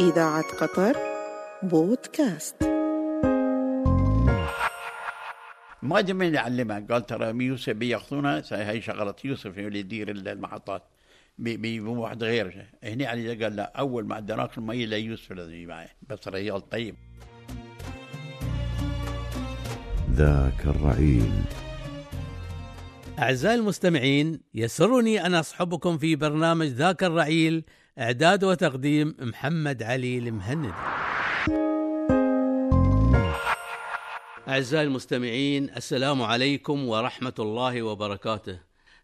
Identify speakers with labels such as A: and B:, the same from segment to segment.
A: إذاعة قطر بودكاست
B: ما جميل يعلمها قال ترى يوسف بياخذونا هاي شغله يوسف يعني اللي يدير المحطات بي- بيجيبون واحد غيره هنا علي قال لا اول ما عدناك المي لا يوسف لازم يجي معي بس رجال طيب
C: ذاك الرعيل
D: أعزائي المستمعين يسرني أن أصحبكم في برنامج ذاك الرعيل إعداد وتقديم محمد علي المهند أعزائي المستمعين السلام عليكم ورحمة الله وبركاته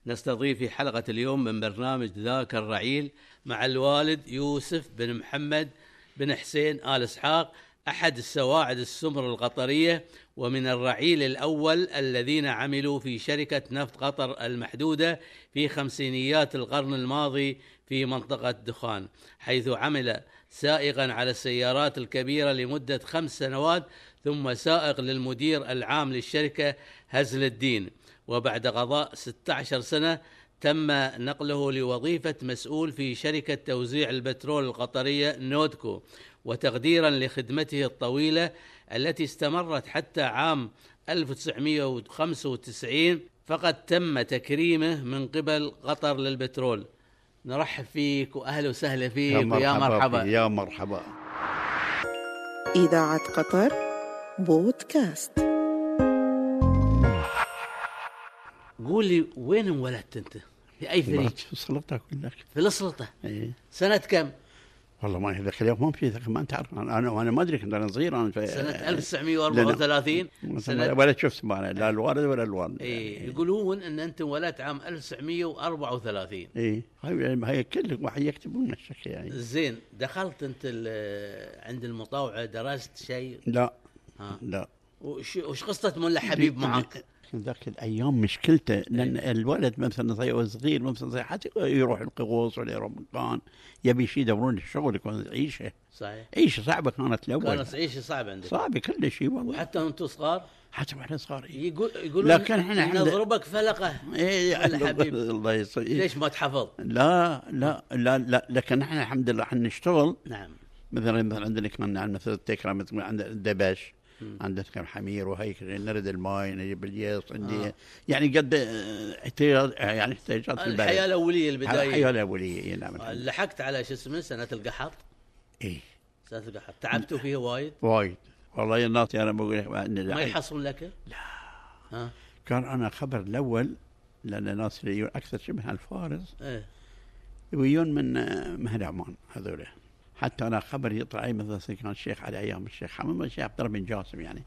D: نستضيف في حلقة اليوم من برنامج ذاك الرعيل مع الوالد يوسف بن محمد بن حسين آل إسحاق أحد السواعد السمر القطرية ومن الرعيل الأول الذين عملوا في شركة نفط قطر المحدودة في خمسينيات القرن الماضي في منطقة دخان حيث عمل سائقا على السيارات الكبيرة لمدة خمس سنوات ثم سائق للمدير العام للشركة هزل الدين وبعد قضاء 16 سنة تم نقله لوظيفة مسؤول في شركة توزيع البترول القطرية نودكو وتقديرا لخدمته الطويلة التي استمرت حتى عام 1995 فقد تم تكريمه من قبل قطر للبترول نرحب فيك وأهلا وسهلا فيك ويا مرحبا
B: فيك، يا مرحبا
A: إذاعة قطر بودكاست
D: قول لي وين انولدت انت؟ في اي فريق؟
B: سلطه اقول لك
D: في السلطه
B: إيه.
D: سنه كم؟
B: والله ما هذا خلاف ما في ذاك ما تعرف انا انا أنا ما ادري كنت انا صغير انا في
D: سنه 1934
B: سنة
D: سنه
B: ولا شفت معنا لا الوالد ولا الوالد يعني-
D: إيه. يقولون ان انت انولدت عام 1934
B: اي إيه. هاي هاي كلهم واحد يكتبون الشك يعني
D: زين دخلت انت ال- عند المطاوعه درست شيء
B: لا
D: ها.
B: لا
D: وش, وش قصه ملا حبيب إيه. معك؟
B: ذاك الايام مشكلته لان الولد مثلا صغير صغير مثلا صغير حتى يروح القغوص ولا يروح مكان يبي شيء يدورون الشغل يكون عيشه
D: صحيح
B: عيشه صعبه كانت الاول
D: كانت عيشه صعبه عندك
B: صعبه كل شيء والله
D: وحتى وانتم صغار
B: حتى واحنا صغار
D: يقول يقولون
B: لكن إحنا عند-
D: نضربك فلقه
B: ايه
D: ولا حبيب.
B: الله يصير
D: ليش ما تحفظ؟
B: لا لا لا لا لكن احنا الحمد لله احنا نشتغل
D: نعم
B: مثلا مثلا عندنا كمان عن- مثلا تكرم مثلا عند الدبش عندك كم حمير وهيك نرد الماي نجيب الياس عندي آه. يعني قد آه، احتياج آه، يعني احتياجات البلد
D: الحياه الاوليه البدايه
B: الحياه الاوليه إي نعم الحمد لله.
D: لحقت على شو اسمه سنه القحط
B: اي
D: سنه القحط تعبتوا فيها وايد
B: وايد والله الناس انا بقول لك إن
D: ما
B: الحين
D: يحصل لك لا ها
B: كان انا خبر الاول لان الناس اللي يجون اكثر شبه الفارس
D: ايه
B: ويجون من آه، من أهل عمان هذول حتى انا خبر يطلع أي مثلا كان الشيخ على ايام الشيخ حمد الشيخ عبد الله بن جاسم يعني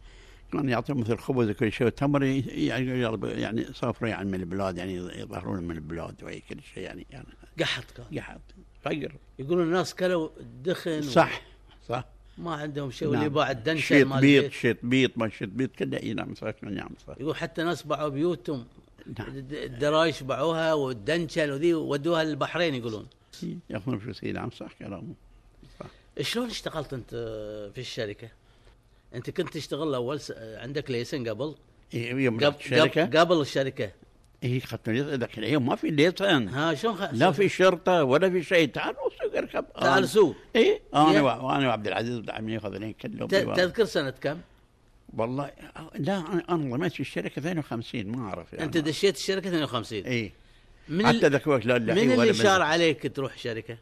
B: كان يعطيهم مثل خبز وكل شيء تمر ي- يعني يضرب- يعني يسافروا يعني من البلاد يعني يظهرون من البلاد وهي كل شيء يعني يعني
D: قحط كان
B: قحط فقر
D: يقولون الناس كلوا دخن
B: صح صح
D: ما عندهم شيء
B: نعم.
D: واللي باع الدنشه
B: شيط
D: مال
B: بيض
D: البيت.
B: شيط بيض ما شيط بيض كله اي نعم صح نعم صح
D: يقول حتى ناس باعوا بيوتهم
B: نعم.
D: الد- الدرايش باعوها والدنشل وذي ودوها للبحرين يقولون
B: ياخذون فلوس اي نعم صح كلامه
D: شلون اشتغلت انت في الشركه؟ انت كنت تشتغل اول س... عندك ليسن قبل
B: إي، إيه، يوم
D: قبل
B: رحت الشركه
D: قبل الشركه
B: هي خدت ذاك اليوم ما في ليسن
D: ها شلون خ...
B: لا في شرطه ولا في شيء تعالوا سوق اركب
D: تعال سوق
B: اي انا
D: يا.
B: وع- وانا وعبد العزيز وعبد العميد خذني كلهم
D: ت... تذكر سنه كم؟
B: والله أ- لا أنا- انا ضمنت في الشركه 52 ما اعرف يعني
D: انت دشيت الشركه 52
B: اي
D: من
B: إيه. حتى
D: ال...
B: ذاك الوقت لا إيه، لا
D: من اللي شار عليك تروح شركه؟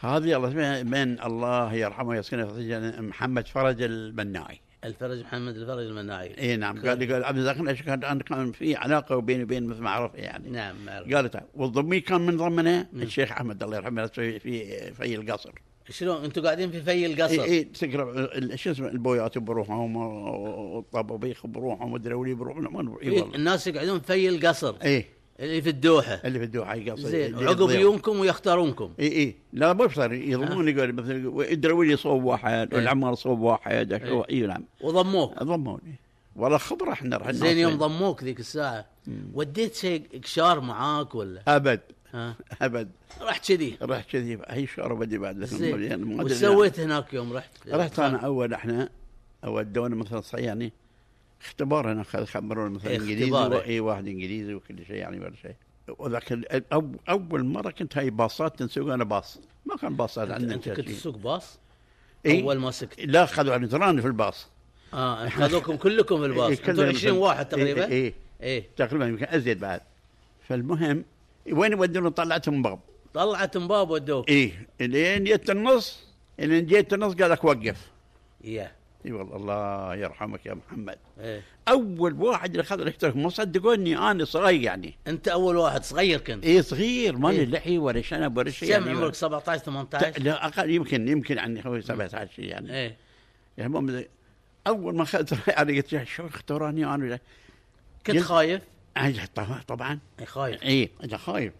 B: هذه الله اسمها من الله يرحمه يسكنه في الجنة، محمد فرج البناعي
D: الفرج محمد الفرج المناعي
B: اي نعم قال لي قال عبد الزاق كان انا كان في علاقه بيني وبين مثل ما اعرف يعني
D: نعم أعرف.
B: قالت والضمي كان من ضمنه الشيخ احمد الله يرحمه في في في القصر
D: شلون انتم قاعدين في في القصر
B: اي اي تقرا إيه، ال- شو اسمه البويات بروحهم والطبابيخ بروحهم والدراولي بروحهم ما- اي
D: في-
B: إيه، والله
D: إيه،
B: إيه.
D: الناس يقعدون في القصر
B: اي
D: اللي في الدوحه
B: اللي في الدوحه يقصد
D: زين وعقب يومكم ويختارونكم
B: اي اي إيه. لا مبصر يظنون يقول مثلا الدراولي صوب واحد
D: آه. إيه.
B: والعمار صوب واحد
D: إيه.
B: اي نعم
D: وضموك
B: ضموني والله خبره احنا رحنا
D: زين يوم ضموك ذيك الساعه وديت شيء قشار معاك ولا
B: ابد
D: ها
B: ابد
D: رحت كذي
B: رحت كذي هي شعر بدي بعد لكن يعني
D: زين
B: ما أدري
D: وسويت هناك يوم رحت
B: يعني. رحت انا اول احنا ودونا مثلا صياني اختبار انا خ- خبرونا مثلا
D: إيه،
B: انجليزي و-
D: اختبار، إيه.
B: اي واحد انجليزي وكل شيء يعني ولا شيء وذاك ال- ال- أو- اول مره كنت هاي باصات تنسوق انا باص ما كان باصات عندنا
D: انت
B: كذا
D: كنت
B: شيء.
D: تسوق باص
B: إي.
D: اول ما سكت
B: لا خذوا عن في الباص
D: اه خذوكم كلكم في
B: إي،
D: الباص
B: كلهم
D: انتم 20
B: إيه، في- إيه،
D: واحد
B: إي-
D: تقريبا
B: إي- اي
D: ايه
B: تقريبا يمكن ازيد بعد فالمهم وين يودون طلعتهم باب
D: طلعت مباب ودوك
B: ايه الين جيت النص الين جيت النص قال لك وقف
D: يا
B: اي والله الله يرحمك يا محمد
D: ايه
B: اول واحد اللي اخذ الاحتراف ما صدقوني انا صغير يعني
D: انت اول واحد صغير كنت
B: اي صغير ما
D: إيه.
B: لي لحيه ولا شنب ولا شيء
D: كم
B: يعني
D: عمرك 17 18
B: لا اقل يمكن يمكن عني هو 17 شيء يعني
D: ايه
B: يعني المهم زي- اول ما اخذت انا قلت يا شو اختاروني انا ولا-
D: كنت
B: جل-
D: خايف
B: أنا طبعا- طبعا
D: اي خايف
B: اي انا إيه، خايف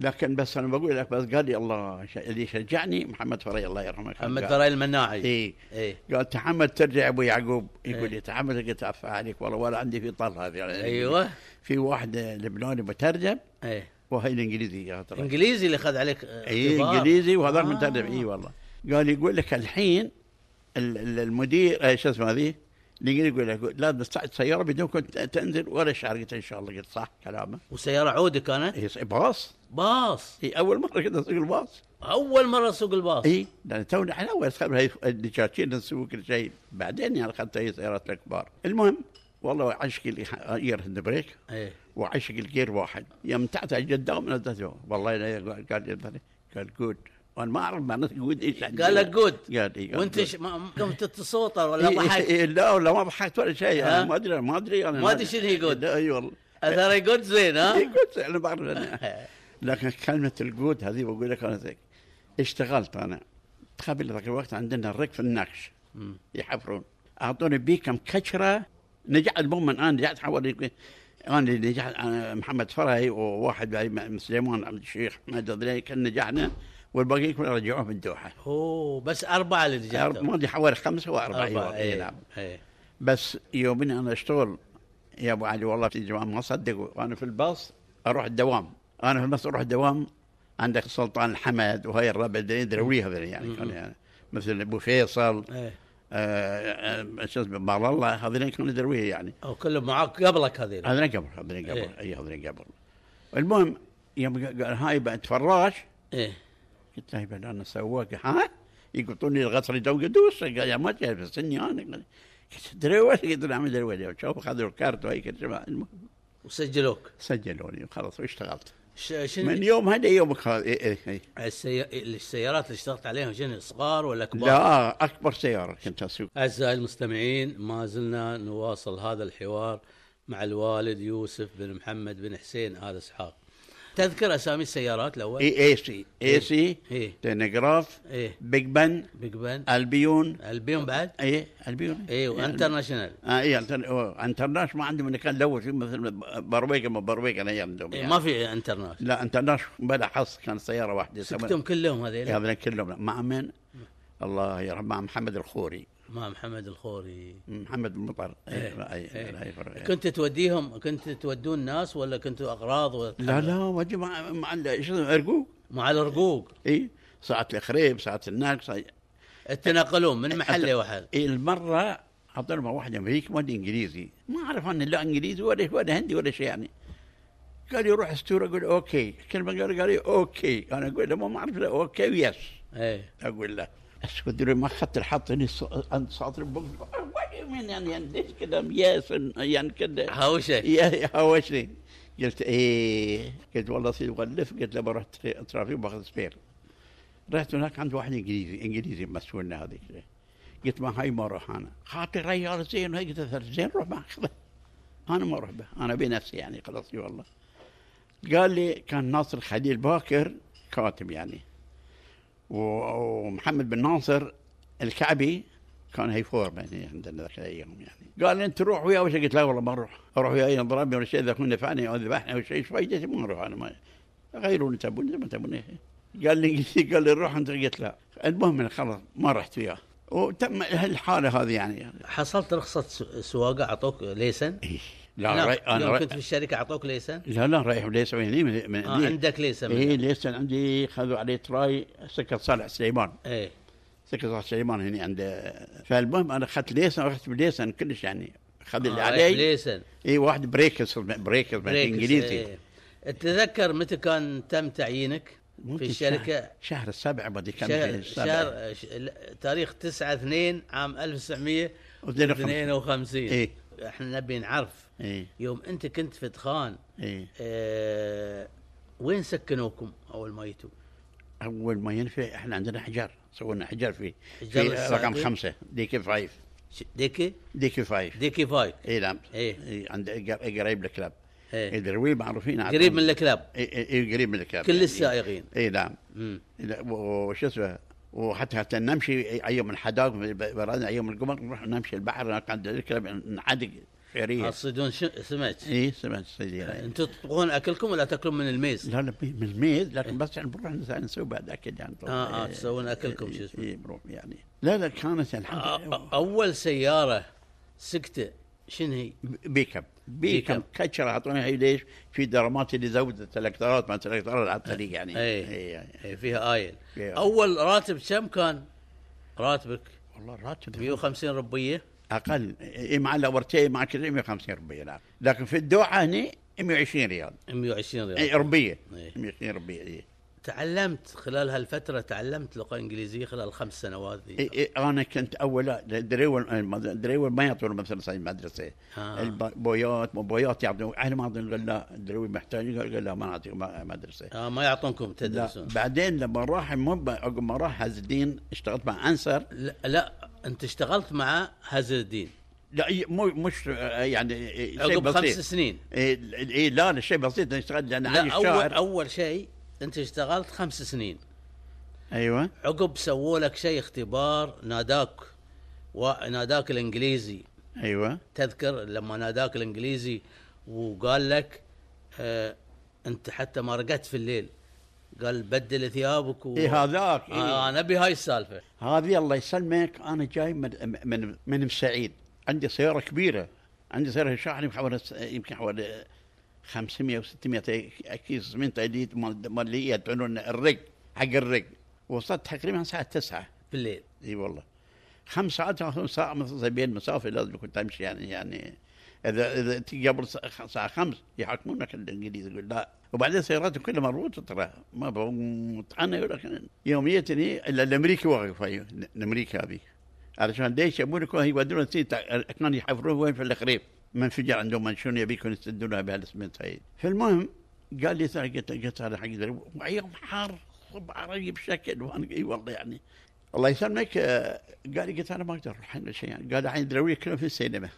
B: لكن بس انا بقول لك بس قال لي الله ش- اللي شجعني محمد إيه. فري الله يرحمه كان
D: محمد
B: قال-
D: فرايل المناعي
B: اي
D: ايه
B: قال تحمد ترجع ابو يعقوب
D: إيه.
B: يقول لي تحمد قلت عفا عليك والله ولا عندي في طر هذه يعني
D: ايوه
B: في واحد لبناني مترجم
D: ايه
B: وهي الانجليزي يا إيه، ترى
D: انجليزي اللي خذ عليك آه،
B: اي
D: اختبار.
B: انجليزي وهذاك
D: آه.
B: مترجم اي إيه والله قال يقول لك الحين ال- ال- المدير آه، شو اسمه هذه الانجليزي يقول لك لازم تصعد سياره بدون كنت تنزل ولا شعر قلت ان شاء الله قلت صح كلامه
D: وسياره عودي كانت
B: اي باص
D: باص
B: اي اول مره كنت إيه، اسوق الباص
D: اول مره اسوق الباص
B: اي لان تونا احنا اول خبر هي الدجاجين نسوي كل شيء بعدين يعني اخذت هي سيارات الكبار المهم والله عشق الجير هند بريك
D: ايه
B: وعشق الجير واحد يوم تحت الجدام نزلته والله لا قال لي- قال جود وانا ما اعرف معناته جود ايش يعني
D: قال لك good.
B: قال اي قال
D: وانت
B: good.
D: ش... ما قمت تتصوتر ولا
B: إي- إي-
D: ضحكت
B: إي، لا ولا ما ضحكت ولا شيء
D: ها؟
B: انا ما ادري ما ادري انا
D: ما أدري شنو هي أه، good.
B: لا، اي والله
D: اثر يقول إيه زين
B: اي
D: ها
B: جود انا بعرف أنا. لكن كلمة الجود هذه بقول لك أنا زيك. اشتغلت أنا تخيل ذاك الوقت عندنا الرك في النقش
D: مم.
B: يحفرون أعطوني بيكة مكشرة نجعت المهم أنا نجعت حوالي أنا اللي نجحت أنا محمد فرعي وواحد بعد م- سليمان عبد الشيخ محمد الضليعي كنا نجحنا والباقيين كنا رجعوهم الدوحة
D: اوه بس اربعه اللي
B: أرب-
D: رجعتهم
B: ما أدري حوالي خمسة وأربعة
D: اربعه
B: أيوة،
D: ايه
B: نعم.
D: ايه
B: بس يومين أنا أشتغل يا أبو علي والله في الجماعة ما صدقوا وأنا في الباص أروح الدوام أنا في الباص أروح الدوام عندك سلطان الحمد وهي الربع يدري هذول يعني كان يعني مثل أبو فيصل
D: ايه
B: آه، آه، شو اسمه مال الله هذين كانوا يدرويه يعني
D: او كلهم معاك قبلك هذين
B: هذين قبل هذين قبل
D: إيه.
B: اي هذين قبل المهم يوم قال هاي بعد فراش
D: ايه
B: قلت له يبقى انا سواق ها يقطوني الغطر تو قدوس قال يا ما تعرف سني انا قلت تدري وين قلت له عم ادري وين شوف خذوا الكارت وهيك الجماعة. المهم
D: وسجلوك
B: سجلوني وخلاص واشتغلت
D: ش... شنو
B: من يوم هذا يومك هذا إيه إيه إيه.
D: السي... السيارات اللي اشتغلت عليها شنو صغار ولا كبار؟
B: لا اكبر سياره كنت اسوق
D: أعزائي المستمعين ما زلنا نواصل هذا الحوار مع الوالد يوسف بن محمد بن حسين آل إسحاق تذكر أسامي السيارات الأول؟
B: اي اي سي اي سي
D: إيه
B: تنغراف
D: إيه
B: بيج بن
D: بيج بن
B: البيون
D: البيون بعد؟
B: اي البيون
D: إيه وانترناشونال
B: آه اي أنتر- أوه، انترناش ما عندهم اللي كان لو في مثل برويقه ما برويقه انا عندهم
D: إيه
B: يعني.
D: ما في انترناشونال
B: لا انترناش بلا حص كان سياره واحده
D: سكتهم كلهم هذيل
B: هذا إيه، كلهم مع من؟ الله يرحمه مع محمد الخوري
D: مع محمد الخوري
B: محمد المطر
D: إيه،
B: أي- أي-
D: إيه.
B: أي- أي-
D: كنت توديهم كنت تودون ناس ولا كنتوا أغراض ولا
B: لا لا وجه مع مع ال- شو اسمه ارجوك
D: مع الرقوق
B: اي ساعة الخريب ساعة الناقص إيه، اي
D: تناقلون من إيه، محل لمحل
B: المرة حطينا مع واحد امريكي واحد انجليزي ما اعرف انا لا انجليزي ولا ولا هندي ولا شيء يعني قال لي روح استور اقول اوكي كلمة قال قال لي اوكي انا اقول له ما اعرف لا اوكي ويس
D: إيه
B: اقول له اسود لو ما اخذت حاطني عند ساطر بوق من يعني يعني ليش كذا يس يعني كذا
D: هاوشة
B: يا هوشني قلت ايه قلت والله سيدي غلف قلت له بروح تري- ترافيق باخذ سبير رحت هناك عند واحد انجليزي انجليزي مسؤولنا هذيك قلت ما هاي ما اروح انا خاطر ريال زين هيك قلت زين روح ما اخذه انا ما اروح به انا بنفسي يعني خلاص اي والله قال لي كان ناصر خليل باكر كاتب يعني و- ومحمد بن ناصر الكعبي كان هي فورم يعني عندنا ذاك الايام يعني قال لي انت روح وياه وش قلت لا والله ما اروح اروح وياه ضربني ولا شيء اذا كنا نفعني او ذبحني او شيء ايش فايدتي ما اروح انا ما غيروني تبوني زي ما تبوني قال لي قال لي روح انت قلت لا المهم أنا خلاص ما رحت وياه وتم الحاله هذه يعني
D: حصلت رخصة سو- سواقة أعطوك ليسن؟
B: لا
D: هناك
B: رأي انا
D: يوم
B: رأي إيه،
D: كنت في الشركة أعطوك ليسن؟
B: لا لا رايح ليس هني من من
D: آه عندك ليسن
B: ايه ليس عندي خذوا عليه تراي سكه صالح سليمان
D: إيه
B: سكرتير صلاح سليمان هنا عند فالمهم انا اخذت ليسن اخذت بليسن كلش يعني اخذ اللي إيه،
D: آه
B: علي
D: ليسن إيه.
B: اي واحد بريكس بريكس
D: بريكس،
B: انجليزي
D: إيه. تتذكر متى كان تم تعيينك؟
B: ممكن
D: في الشركة
B: شهر, شهر السبع بدي كان
D: شهر,
B: السابع.
D: شهر ش- لا، تاريخ 9 2 عام 1952
B: إيه.
D: احنا نبي نعرف
B: ايه
D: يوم انت كنت في دخان
B: ايه
D: اه وين سكنوكم اول ما جيتوا؟
B: اول ما ينفع احنا عندنا حجر سوينا حجر في
D: حجر
B: في
D: الساعة
B: رقم
D: دي؟
B: خمسه ديكي فايف
D: ش- ديكي
B: ديكي فايف
D: ديكي فايك
B: اي نعم
D: إيه.
B: إيه، عند قر- قريب الكلاب
D: إيه.
B: الدرويب معروفين عندهم.
D: قريب من الكلاب
B: إيه، إيه، إيه، قريب من الكلاب
D: كل السائقين
B: اي نعم
D: مم.
B: لا، و- وش اسمه وحتى حتى نمشي ايام الحدائق برادنا ايام القمر نروح نمشي البحر هناك عند الكلاب نعدق فيريه
D: تصيدون ش- سمك
B: اي سمعت السيدي يعني.
D: انتم تطبخون اكلكم ولا تاكلون من الميز؟
B: لا لا بي- من الميز لكن بس يعني بنروح نس- نسوي بعد اكل يعني
D: آه، آه،
B: إيه،
D: تسوون أكلكم شو
B: إيه،
D: اسمه. آه،
B: إيه، بنروح يعني لا لا كانت الحمد
D: أ-
B: لله
D: أ- اول سياره سكته شنو هي؟
B: بيكم بيكم
D: بيكم.
B: كتشر اعطونا هي ليش في درامات اللي زودت الالكترات ما الالكترات على الطريق يعني
D: إيه.
B: إيه، إيه.
D: إيه، فيها آيل
B: إيه.
D: اول راتب كم كان؟ راتبك
B: والله الراتب
D: 150 ربيه
B: اقل إيه مع الاورتيه مع كذا 150 ربيه نعم لكن في الدوحه هنا 120 ريال
D: 120 ريال
B: إيه، ربيه
D: إيه.
B: 120 ربيه إيه.
D: تعلمت خلال هالفتره تعلمت لغه انجليزيه خلال خمس سنوات ذي
B: إي- إي، انا إيه، كنت اول دريول دريول إيه، ما يعطون مثلا صاير مدرسه
D: آه.
B: البويات مو بويات يعطون احنا ما عندنا قال لا الدريول محتاجين قال لا ما نعطيكم مدرسه
D: آه ما يعطونكم
B: لا
D: تدرسون
B: بعدين لما راح مو ب- عقب ما راح عز الدين اشتغلت مع انسر
D: لا, لا انت اشتغلت مع هز الدين
B: لا إي، مو مش آه، يعني إي، شيء
D: عقب خمس
B: بسيط
D: سنين
B: اي إي، لا لا شيء بسيط أنا اشتغلت لان علي
D: لا اول
B: الشاعر
D: اول شيء انت اشتغلت خمس سنين
B: ايوه
D: عقب سووا لك شيء اختبار ناداك وناداك الانجليزي
B: ايوه
D: تذكر لما ناداك الانجليزي وقال لك اه انت حتى ما رقدت في الليل قال بدل ثيابك و...
B: اي إيه، هذاك
D: آه
B: إي.
D: انا ابي هاي السالفه
B: هذه الله يسلمك انا جاي من من من مسعيد عندي سياره كبيره عندي سياره شاحنه حوالي يمكن حوالي 500 و600 كيس اسمنت اللي مال مال اللي يدعون الرق حق الرق وصلت تقريبا الساعه 9
D: بالليل
B: اي والله خمس ساعات أو ساعه مثلا بين المسافه لازم كنت امشي يعني يعني اذا اذا تجي قبل الساعة- الساعه 5 يحاكمونك الانجليز يقول لا وبعدين سياراتهم كلها مربوطه ترى ما مطعنه لكن يوم جتني الا الامريكي واقف أيوه، هي- الامريكي هذه علشان ليش يبون يكون يودون كانوا يحفرون وين في الخريف منفجر عندهم منشون يبيكم يسدونها بهالاسمنت هاي فالمهم قال لي ترى قلت قلت هذا حق درب. ويوم حار صبح عرقي بشكل وانا اي والله يعني الله يسلمك آه، قال لي قلت انا ما اقدر اروح هذا الشيء يعني. قال الحين دراوي كلهم في السينما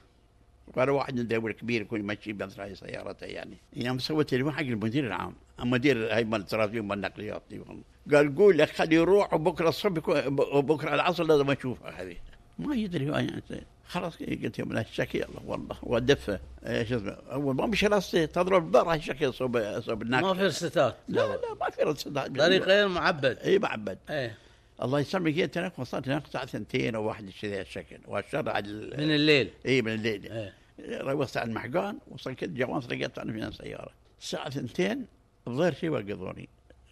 B: وانا واحد من دراوي كبير يكون يمشي بأسرع سيارته يعني يوم سويت تليفون حق المدير العام المدير هاي مال الترافيق مال النقليات دي والله قال قول لك خليه يروح وبكره الصبح يكون- وبكره العصر لازم اشوفه هذه ما يدري هو يعني خلاص قلت يوم لا الشكي الله والله ودفه آه، شو اسمه اول ما مش راسي تضرب البار الشكي صوب صوب الناقل
D: ما في رستات
B: لا لا ما في رصد
D: طريق إيه؟ غير معبد
B: اي معبد
D: ايه
B: الله يسلمك جيت هناك وصلت هناك الساعه 2 او 1 كذا الشكل والشارع
D: من الليل
B: اي من الليل
D: ايه
B: روحت على المحقان وصلت جواز لقيت انا في سياره الساعه 2 الظهر شي وقفوني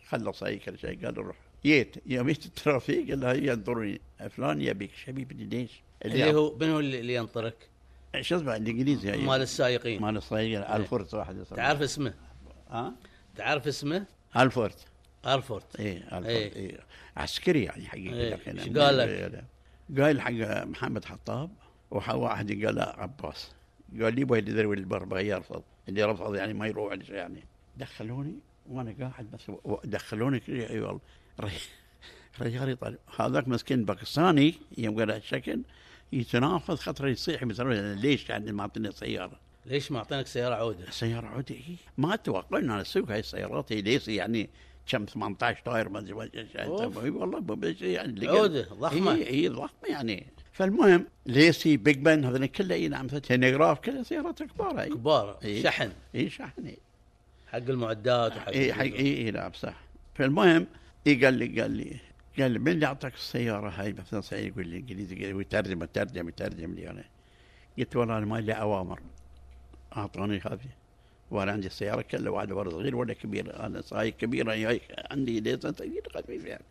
B: خلص هاي كل شيء قالوا روح جيت يوم جيت الترافيق قال هي ينظروني فلان يبيك شبيبني ليش؟
D: اللي هو من هو اللي اللي ينطرك؟
B: شو اسمه الانجليزي هي.
D: مال السائقين
B: إيه. مال الصغير الفورت واحد اسمه.
D: تعرف اسمه
B: ها؟
D: تعرف اسمه؟
B: الفورت
D: ارفورت
B: ايه الفورد
D: إيه.
B: إيه. إيه. عسكري يعني حقيقي
D: إيه.
B: لكن-
D: إيش قال لك؟
B: قال حق محمد حطاب وواحد قال لا عباس قال لي يبغى يدري البربغي يرفض اللي رفض يعني ما يروح على شيء يعني دخلوني وانا قاعد بس و- و- دخلوني كذا، اي والله ري- رجال يطالع هذاك مسكين باكستاني يوم قال الشكل يتنافس خاطر يصيح مثلا ليش يعني ما اعطيني سياره
D: ليش ما اعطينك سياره عوده؟
B: سيارة عودية ما اتوقع ان انا اسوق هاي السيارات هي ليس يعني كم 18 تاير ما ادري وش- وش-
D: أوف.
B: إي والله مو بس يعني اللي
D: عودة
B: قال-
D: ضخمة.
B: اي إي ضخمه يعني فالمهم ليسي بيج بن هذول كله اي نعم تنجراف كلها سيارات كبار اي
D: كبار
B: إيه.
D: شحن
B: اي شحنه
D: حق المعدات وحق
B: اي إيه، حق اي اي نعم صح فالمهم اي قال لي قال لي قال لي من اللي اعطاك السياره هاي مثلا سعيد يقول لي انجليزي قال لي يترجم يترجم يترجم لي انا قلت والله انا ما لي اوامر اعطوني هذه وانا عندي السياره كلها واحد ولا صغير ولا كبير انا صاير كبير أنا جاي- عندي ليزة صغير خفيف يعني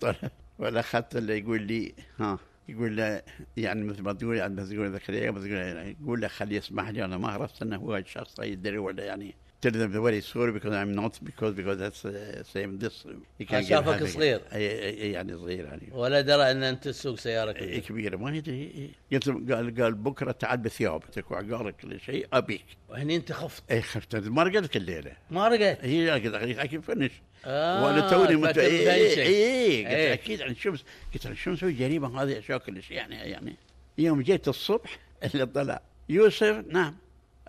B: طلع. ولا اخذت اللي يقول لي ها يقول له يعني مثل ما تقول يعني بس يقول ذكريا بس يقول يعني يقول له خليه يسمح لي انا ما عرفت انه هو الشخص يدري ولا يعني tell them the very sorry because I'm not because because that's uh, same this you get
D: آه، شافك
B: having-
D: صغير.
B: أي- أي- يعني صغير يعني
D: ولا درى ان انت تسوق سياره
B: إيه
D: كبيره
B: كبيرة ما يدري قلت له قال قال بكرة تعال بثيابتك وعقارك كل شيء أبيك
D: وهني انت خفت
B: إيه خفت ما رقدت الليلة
D: ما رقت
B: هي قلت أخي أكيد فنش
D: آه،
B: وانا توني
D: فكرت
B: مت... إيه إيه
D: بنشك.
B: إيه
D: إيه.
B: قلت اكيد عن الشمس قلت عن الشمس والجريمه هذه اشياء كل شيء يعني يعني يوم جيت الصبح اللي طلع يوسف نعم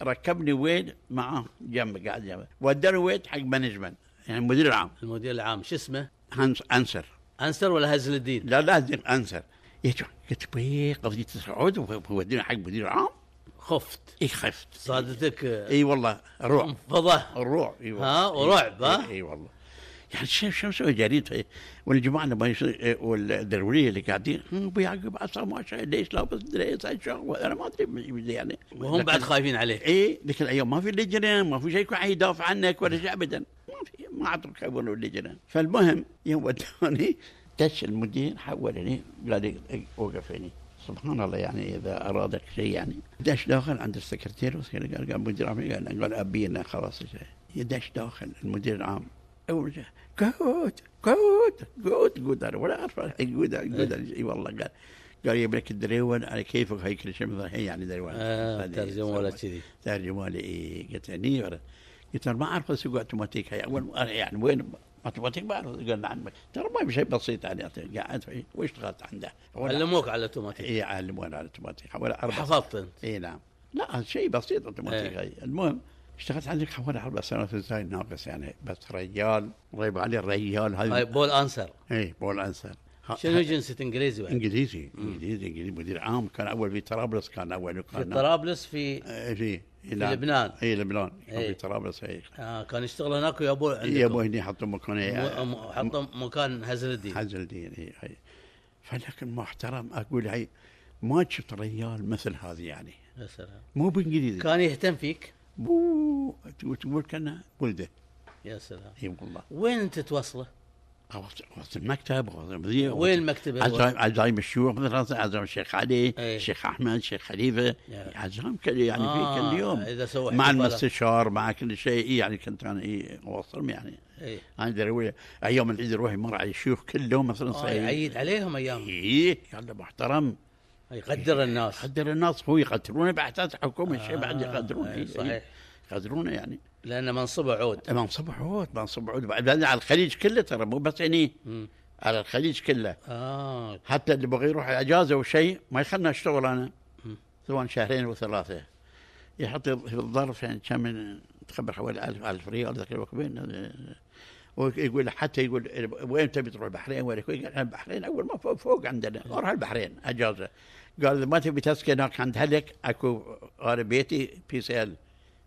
B: ركبني ويد معاه جنبه قاعد جنبه وداني ويد حق مانجمنت يعني المدير العام
D: المدير العام شو اسمه؟
B: هانس انسر
D: انسر ولا هزل الدين؟
B: لا لازم انسر يا جون قلت بيه قضيه السعود وودوني حق مدير العام
D: خفت
B: اي خفت
D: صادتك إيه.
B: اي والله رعب
D: انفضه
B: الرعب أيوة. اي والله
D: ها، ورعب،
B: إي-
D: ها؟
B: اي والله يعني شو شو مسوي جريدة والجماعة لما يصير- والدرولية اللي قاعدين هم ابو يعقوب عصا ما شاء ليش لابس دريس هالشغل انا ما ادري من- يعني
D: وهم بعد خايفين عليك
B: اي ذيك الايام إيه، أيوة، ما في لجنه ما في شيء يكون يدافع عنك ولا شيء ابدا ما في ما عطوك خبر اللجنه فالمهم يوم ودوني دش المدير حولني قال لي وقف هنا سبحان الله يعني اذا ارادك شيء يعني دش داخل عند السكرتير والسكرتير قال قال مدير عام قال قال ابينا خلاص دش داخل المدير العام اول شيء قعود قعود قعود قعود انا ولا اعرف قعود قعود اي والله قال قال يجيب لك الدريون على كيفك هاي كل شيء مثلا هي يعني دريون
D: آه، ترجمة ولا كذي.
B: ترجمه لي إيه؟ قلت اني ولا قلت انا ما اعرف اسوق اوتوماتيك هي اول أنا يعني وين اوتوماتيك ما اعرف قال نعم ترى ما في شيء بسيط يعني قعدت في- واشتغلت عنده ولا
D: علموك على الاوتوماتيك
B: اي علمونا على الاوتوماتيك حوالي اربع
D: حفظت انت
B: اي نعم لا شيء بسيط اوتوماتيك
D: إيه.
B: هي المهم اشتغلت عندك حوالي اربع سنوات زي ناقص يعني بس ريال ريب علي الريال
D: طيب
B: هذا
D: بول انسر
B: اي بول انسر ها-
D: شنو جنسة انجليزي بعد؟
B: انجليزي انجليزي انجليزي مدير عام كان اول في طرابلس كان اول
D: في
B: كان
D: طرابلس في
B: إيه، في في
D: لبنان.
B: اي لبنان كان
D: إيه.
B: في طرابلس اي
D: آه كان يشتغل هناك ويا ابو
B: يا يعني ابو
D: عندكم
B: هني حطوا مكان
D: م- م- حطوا مكان هزل الدين
B: حزل الدين اي اي فلكن محترم اقول هي ما شفت ريال مثل هذه يعني
D: يا سلام
B: مو بانجليزي
D: كان يهتم فيك
B: مو تقول- تقول كانه ولده
D: يا سلام
B: اي والله
D: وين انت توصله؟
B: غوص غوص المكتب غوص المدير
D: وين مكتبه؟
B: عزايم عزايم الشيوخ مثلا عزايم الشيخ علي
D: إيه.
B: الشيخ احمد الشيخ خليفه
D: يا.
B: عزايم كل يعني في
D: آه،
B: كل يوم
D: إذا سووا
B: مع
D: احتفالات.
B: المستشار مع كل شيء إيه، يعني كنت انا اي اوصلهم يعني
D: ايه
B: انا دروية ايام العيد روحي مر على الشيوخ كلهم مثلا
D: آه يعيد عليهم ايام
B: ايه يلا محترم
D: يقدر الناس
B: قدر الناس هو يقدرونه باحداث حكومه الشيء بعد يقدرونه
D: آه،
B: إيه،
D: صحيح.
B: يقدرونه يعني
D: لان منصبه عود
B: منصب عود منصب عود بعد على الخليج كله ترى مو بس هني
D: مم.
B: على الخليج كله
D: اه
B: حتى اللي بغى يروح اجازه وشيء ما يخلنا اشتغل انا سواء شهرين وثلاثه يحط في الظرف يعني كم تخبر حوالي 1000 1000 ريال ذاك الوقت بين ويقول حتى يقول وين تبي تروح البحرين وين قال أنا البحرين اول ما فوق, فوق عندنا اروح البحرين اجازه قال اذا ما تبي تسكن هناك عند اهلك اكو انا بيتي بي سي ال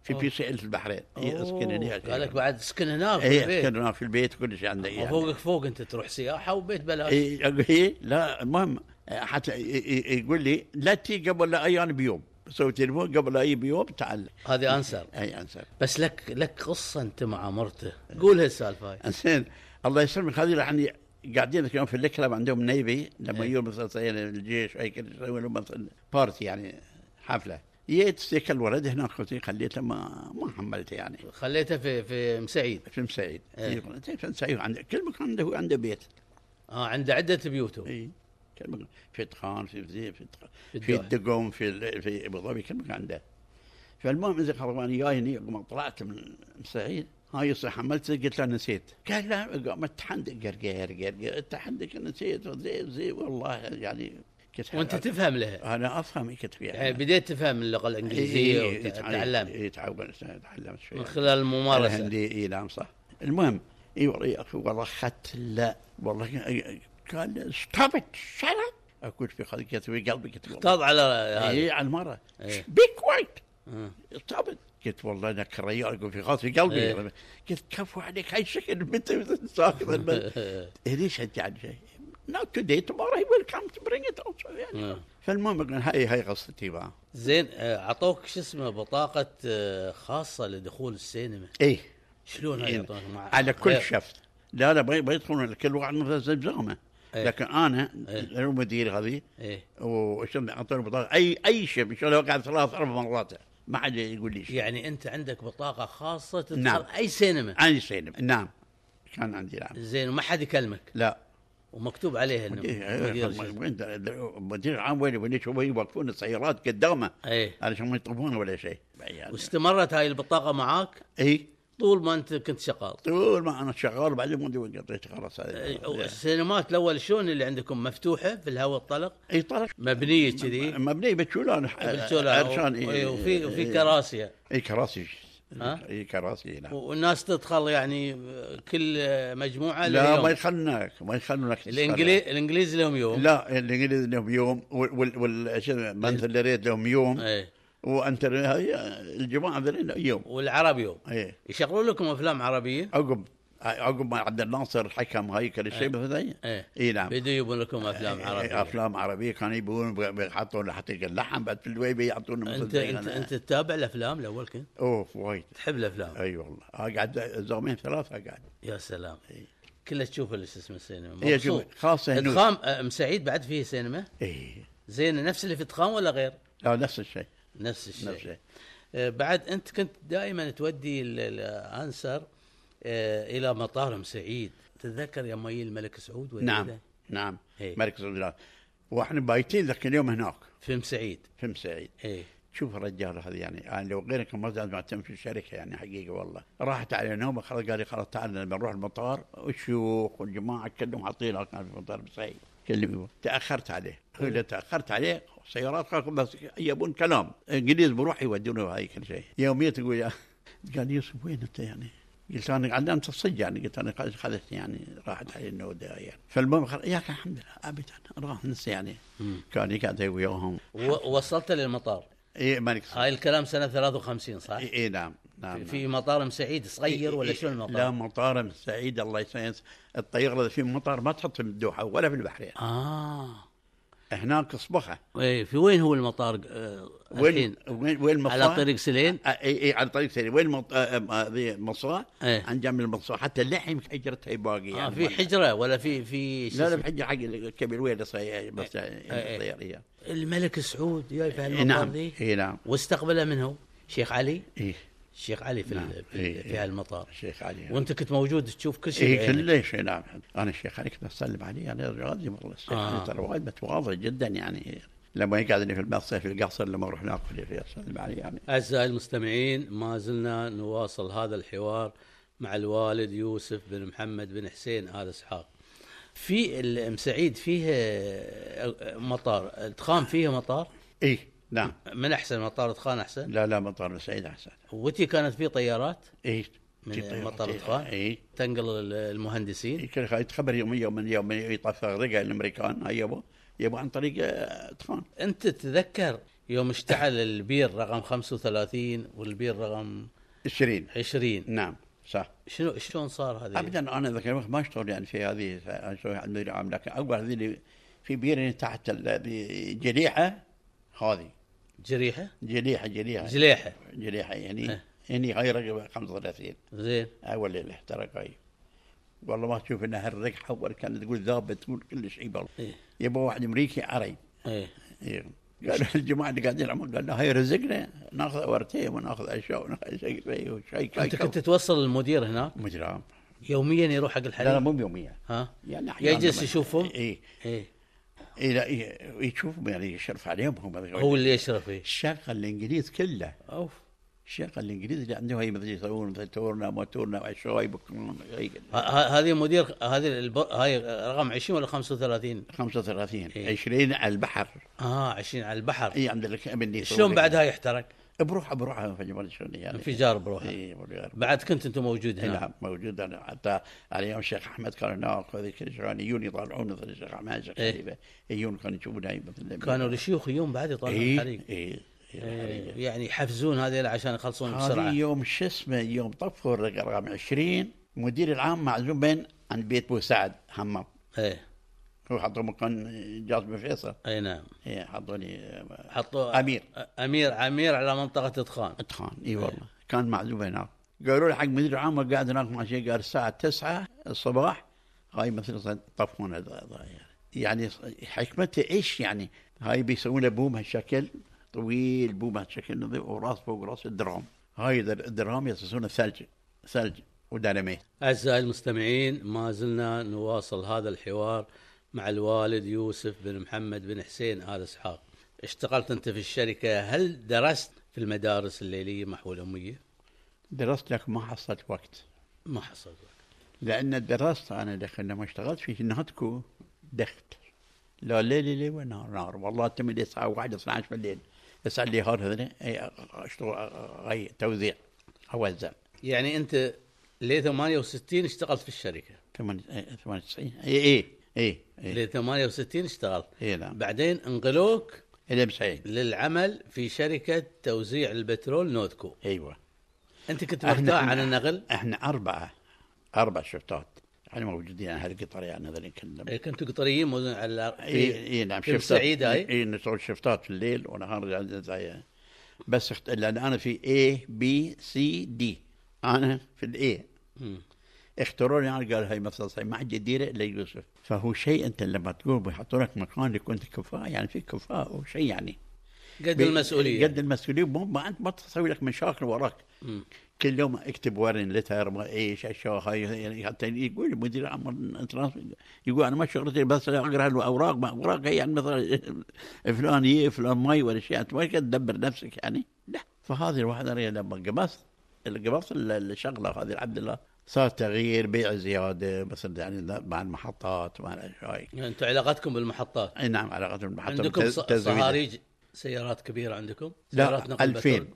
B: في بي سي ال في البحرين اسكن
D: أوه،
B: هناك
D: قالك بعد اسكن هناك في
B: اي
D: البيت.
B: اسكن هناك في البيت كل شيء عندي يعني.
D: وفوقك فوق انت تروح سياحه وبيت بلاش
B: إيه أقول إيه لا المهم حتى إيه إيه يقول لي لا تي قبل لا اي انا بيوم سوي تليفون قبل لا اي بيوم تعال إيه،
D: هذه انسر
B: اي انسر
D: بس لك لك قصه انت مع مرته قول هالسالفه هاي
B: انسان الله يسلمك هذه يعني قاعدين ذاك اليوم في الكلب عندهم نيفي لما يجون مثلا سيارة الجيش اي كذا يسوي لهم مثلا بارتي يعني حفله جيت سيك الولد هناك قلت خليته ما ما حملته يعني
D: خليتها في في مسعيد
B: في مسعيد
D: إيه.
B: في مسعيد عنده كل مكان عنده هو عنده بيت
D: اه عنده عده بيوته
B: اي كل مكان في طخان في في في, طخان
D: في
B: في
D: الدوحة.
B: الدقم في ال- في ابو ظبي كل مكان عنده فالمهم اذا خربان جاي هني ما طلعت من سعيد هاي يصيح حملت قلت له نسيت قال لا قامت تحندق قرقير قرقير انت حندق نسيت زي زي والله يعني كنت
D: وانت تفهم لها
B: انا افهم كنت فيها
D: يعني بديت تفهم اللغه الانجليزيه وتعلمت
B: يتعود تعلمت شويه
D: من خلال الممارسه
B: الهندي اي نعم صح المهم اي والله يا اخي والله اخذت لا والله كان ستوب ات اقول في خلقي قلت في قلبي قلت والله.
D: احتاض على هذا
B: اي على المره
D: إيه.
B: بي كوايت ستوب ات قلت والله انا كريال اقول في خاطري قلبي
D: إيه.
B: قلت كفو عليك هاي شكل بنت ساكت هذي شجعني يعني شيء Not today, tomorrow he will come to bring it also. يعني.
D: آه.
B: فالمهم قلنا هاي هاي قصتي بقى.
D: زين آه، عطوك شو اسمه بطاقه آه، خاصه لدخول السينما
B: ايه
D: شلون هاي
B: يعني
D: يعطونك أيوة، مع
B: على
D: غير-
B: كل شفت لا لا ما يدخلون كل واحد مثل زمزمه
D: إيه.
B: لكن انا
D: إيه.
B: المدير هذه
D: ايه
B: وشن اعطوني بطاقه اي اي شيء ان شاء الله قاعد ثلاث اربع مرات ما حد يقول لي شيء
D: يعني انت عندك بطاقه خاصه تدخل
B: نعم.
D: اي سينما
B: عندي سينما نعم كان عندي نعم
D: زين وما حد يكلمك
B: لا إيه،
D: ومكتوب عليها انه نعم. مدير شركة.
B: وين المدير العام وين وين هو يوقفون السيارات قدامه
D: اي
B: علشان ما يطوفون ولا شيء يعني
D: واستمرت هاي البطاقه معاك
B: اي
D: طول ما انت كنت شغال
B: طول ما انا شغال بعدين ما أدري قضيت خلاص
D: أي،
B: هذا.
D: السينمات الاول شلون اللي عندكم مفتوحه في الهواء الطلق
B: اي طرق
D: مبنيه كذي
B: مبني بتشولان
D: بالسولة.
B: إيه،
D: أي، إيه، وفي وفي كراسي
B: اي إيه، كراسي
D: ها؟
B: اي كراسي نعم
D: والناس تدخل يعني كل مجموعه
B: لا
D: لها
B: ما
D: يوم.
B: يخلونك ما يخلونك
D: الانجليز الانجليز لهم يوم
B: لا الانجليز لهم يوم وال وال- وال شو اسمه بنث الريت لهم يوم
D: اي
B: وانت هاي الجماعه ذولين يوم
D: والعرب يوم
B: اي
D: يشغلون لكم افلام عربيه
B: عقب عقب ما عبد الناصر حكم هاي كل شيء بس هي.
D: ايه
B: اي نعم إيه،
D: بدوا يبون لكم افلام عربيه
B: افلام عربيه كانوا يبون يحطون حتى اللحم بعد في الويبه يعطونا مثل
D: انت
B: زي
D: انت
B: أنا.
D: انت تتابع الافلام الاول كنت
B: اوف وايد
D: تحب الافلام
B: اي والله اقعد زومين ثلاثه اقعد
D: يا سلام
B: إيه.
D: كلها تشوف اللي شو اسمه السينما
B: هي
D: مبسوط.
B: شوف، خاصه هنود
D: ادخام آه، ام سعيد بعد فيه سينما
B: اي
D: زين نفس اللي في ادخام ولا غير
B: إيه. لا نفس الشيء نفس
D: نفس الشيء
B: الشيء
D: آه، بعد انت كنت دائما تودي ال- ال- الانسر آه، الى مطار ام سعيد تتذكر يا مي الملك سعود ولا
B: نعم
D: لا؟
B: نعم
D: إيه.
B: مركز الولايات واحنا بايتين ذاك اليوم هناك
D: في ام سعيد
B: في مسعيد
D: ايه
B: شوف الرجال هذا يعني انا لو غيرك ما زال معتم في الشركه يعني حقيقه والله راحت علي نومه خلاص قال لي خلاص تعال لما نروح المطار والشيوخ والجماعه كلهم عطينا كان في مطار مسعيد كلمني تاخرت عليه هو اللي تاخرت عليه سيارات خلاص بس يبون كلام انجليز بروح يودونه هاي كل شيء يوميا تقول يا قال يوسف وين انت يعني؟ قلت انا قاعد انت الصج يعني قلت انا خلاص- خلصت يعني راحت علي النوده يعني فالمهم خلاص يا أخي الحمد لله ابدا راح نسي يعني كان يقعد إيه، وياهم
D: و- وصلت للمطار
B: اي مالك صح.
D: هاي الكلام سنه 53 صح؟
B: اي إي نعم نعم
D: في
B: نعم.
D: مطار ام سعيد صغير ولا
B: إي-
D: شو
B: لا
D: المطار؟
B: مطار سعيد الله يسعدك الطيارة في مطار ما تحط في الدوحة ولا في البحرين
D: اه
B: هناك اصبخة
D: ايه في وين هو المطار آه، الحين؟
B: وين وين وين مصر
D: على طريق سليم؟
B: اي اي على طريق سليم وين مط... آه، آه، هذه مصر
D: إيه.
B: عن جنب المصر حتى اللحم حجرتها باقي
D: آه في حجره ولا في في شو
B: لا لا
D: اسمه؟
B: بحجر حق الكبير وين بس يعني
D: إيه.
B: الطيارية
D: الملك سعود جاي في
B: إي
D: هالمطار
B: نعم
D: ذي
B: اي نعم
D: واستقبله منه شيخ علي
B: اي
D: الشيخ علي في
B: نعم.
D: ال- في,
B: إيه،
D: في
B: إيه.
D: هالمطار
B: الشيخ علي
D: وانت كنت موجود تشوف إيه، كل شيء
B: اي
D: بعينك.
B: كل شيء نعم انا الشيخ علي كنت اسلم عليه يعني انا راضي والله الشيخ
D: آه.
B: علي ترى وايد متواضع جدا يعني لما يقعد لي في المصيف في القصر لما اروح ناكل في اسلم عليه يعني
D: أعزائي المستمعين ما زلنا نواصل هذا الحوار مع الوالد يوسف بن محمد بن حسين آل إسحاق في الأم سعيد فيه آه، مطار ادخام فيه مطار
B: اي نعم
D: من أحسن مطار ادخام أحسن
B: لا لا مطار سعيد إيه، احسن
D: وتي كانت فيه طيارات
B: اي
D: من
B: في إيه، طيارة-
D: مطار الطائف؟
B: اي
D: تنقل ال- المهندسين
B: إي، إيه، كل خ- يتخبر يوم يوم من يوم يطفى رقع الامريكان هاي يبو يبو عن طريق آه، طفان
D: أنت تتذكر يوم اشتعل البير رقم 35 والبير رقم
B: 20
D: 20
B: نعم صح
D: شنو شلون صار هذا
B: ابدا انا ذاك الوقت ما اشتغل يعني في هذه أنا أشتغل عند مدير عام لكن اول هذه اللي في بيرة تحت الجريحه هذه
D: جريحة
B: جليحه جليحه
D: جليحة
B: جليحه يعني
D: إيه.
B: يعني هاي رقبه 35
D: زين
B: اول اللي احترق هاي والله ما تشوف انها الرقحه اول كانت تقول ذابت تقول كل شيء بالله
D: إيه.
B: يبا واحد امريكي عري
D: ايه
B: إيه. قالوا الجماعه اللي قاعدين عمان قال هاي رزقنا ناخذ ورتين وناخذ عشاء وناخذ شيء شيء وشيء
D: انت كنت توصل المدير هناك
B: مجرام
D: يوميا يروح حق
B: لا لا
D: الحريم
B: مو يوميا
D: ها
B: يعني أحياناً
D: يجلس
B: لما-
D: يشوفهم
B: اي
D: ايه
B: اي لا إيه، يشوفهم يعني يشرف عليهم هم
D: هو اللي يشرف فيه
B: الشغل الانجليز كله
D: اوف
B: الشيخ الانجليزي اللي عنده هي مثل يسوون مثل تورنا وتورنا وعشاي بكون
D: ه- ه- هذه مدير هذه الب... هاي رقم 20 ولا 35
B: 35
D: إيه.
B: 20 على البحر
D: اه 20 على البحر
B: اي عند لك مني
D: شلون بعد هاي احترق
B: يعني بروحه بروحه في جبل شلون يعني
D: انفجار بروحه
B: اي بروحه
D: بعد كنت انت موجود
B: إيه
D: هنا
B: نعم موجود انا حتى على ايام الشيخ احمد كان هناك وهذه كل شيء يعني يجون يطالعون مثل الشيخ احمد الشيخ
D: إيه.
B: خليفه يجون كانوا إيه، يشوفون هاي مثل
D: كانوا الشيوخ يوم بعد يطلعون
B: اي
D: الحريق
B: اي
D: إيه، يعني يحفزون هذيل عشان يخلصون
B: هذا
D: بسرعه
B: يوم شو اسمه يوم طفوا الرقم رقم 20 مدير العام معزوم بين عند بيت بو سعد حمام
D: ايه
B: هو حطوا مكان جاز بن فيصل
D: اي نعم
B: إيه، حطوني
D: حطوا
B: أمير.
D: امير امير على منطقه ادخان
B: اتخان اي والله إيه، كان معزوم هناك قالوا لي حق مدير العام قاعد هناك مع شيء قال الساعه 9 الصباح هاي مثل طفون هذا- هذا يعني يعني حكمته ايش يعني هاي بيسوون له بوم هالشكل طويل بومه شكل نظيف وراس فوق راس الدرام هاي الدر- الدرام يصصون الثلج ثلج وديناميت
D: أعزائي المستمعين ما زلنا نواصل هذا الحوار مع الوالد يوسف بن محمد بن حسين آل إسحاق اشتغلت أنت في الشركة هل درست في المدارس الليلية محو الأمية؟
B: درست لك ما حصلت وقت
D: ما حصل
B: لان درست انا دخل لما اشتغلت في نهتكو دخت لا ليل ليل ونهار نهار والله تم لي الساعه 1 12 بالليل يسال لي هون هذني إيه، أي اشتغل أي توزيع اوزع
D: يعني أنت ليه 68 اشتغلت في الشركة
B: 98 اي اي اي اي
D: ليه 68 اشتغلت
B: اي إيه. نعم
D: بعدين انقلوك
B: الى 90
D: للعمل في شركة توزيع البترول نوتكو
B: ايوه
D: أنت كنت
B: إحنا-
D: مرتاح
B: إحنا-
D: عن النقل؟
B: احنا اربعه اربع شفتات احنا موجودين على هالقطار يعني هذول كلهم
D: إيه، كنتوا قطريين مو- على
B: اي اي نعم
D: في الصعيد هاي؟
B: اي نشتغل شفتات في نعم، الليل ونهار زي بس اخت... لان انا في اي بي سي دي انا في الاي
D: مم.
B: اختاروني انا قال هاي مثلا صحيح ما حد يديره الا يوسف فهو شيء انت لما تقول بيحطوا لك مكان يكون أنت كفاءه يعني في كفاءه وشيء يعني
D: قد
B: بي-
D: المسؤولية
B: قد المسؤوليه مو ما انت ما تسوي لك مشاكل وراك
D: مم.
B: كل يوم اكتب ورن لتر ما ايش اشياء هاي يعني حتى يقول مدير عام الترانسبورت يقول انا ما شغلتي بس اقرا الاوراق ما اوراق هي يعني مثلا فلان يي فلان مي ولا شيء انت ما كنت تدبر نفسك يعني لا فهذه الوحده هي لما قبضت قبضت ال- الشغله هذه الحمد لله صار تغيير بيع زياده مثلا يعني لا- مع المحطات مع الاشياء هاي.
D: يعني انتم علاقتكم بالمحطات
B: اي نعم علاقات المحطه
D: عندكم
B: بالتز-
D: ص-
B: تزويدها.
D: صهاريج سيارات كبيره عندكم؟ سيارات
B: لا 2000
D: بترول؟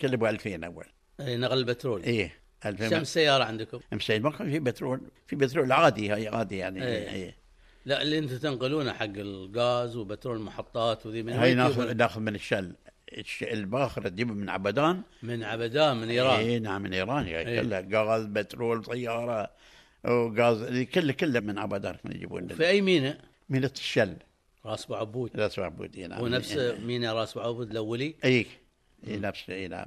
B: كل ابو 2000 اول
D: اي نقل البترول
B: ايه 2000
D: كم سياره عندكم؟
B: مسعين ما كان في بترول في بترول عادي هاي عادي يعني
D: إيه.
B: ايه.
D: لا اللي انتم تنقلونه حق الغاز وبترول المحطات وذي من
B: هاي
D: وين
B: ناخذ
D: تجيبون؟
B: ناخذ من الشل الش- الباخره تجيبها من عبدان
D: من عبدان من ايران
B: اي نعم من ايران هاي
D: إيه.
B: كلها غاز بترول طياره وغاز كله كله من عبدان احنا يجيبون
D: في
B: لنا.
D: اي ميناء؟
B: مينة الشل
D: راس ابو عبود
B: لا اسمع بودي نعم
D: ونفس
B: إيه.
D: ميناء راس ابو عبود الاولي
B: اي اي نفس اي نعم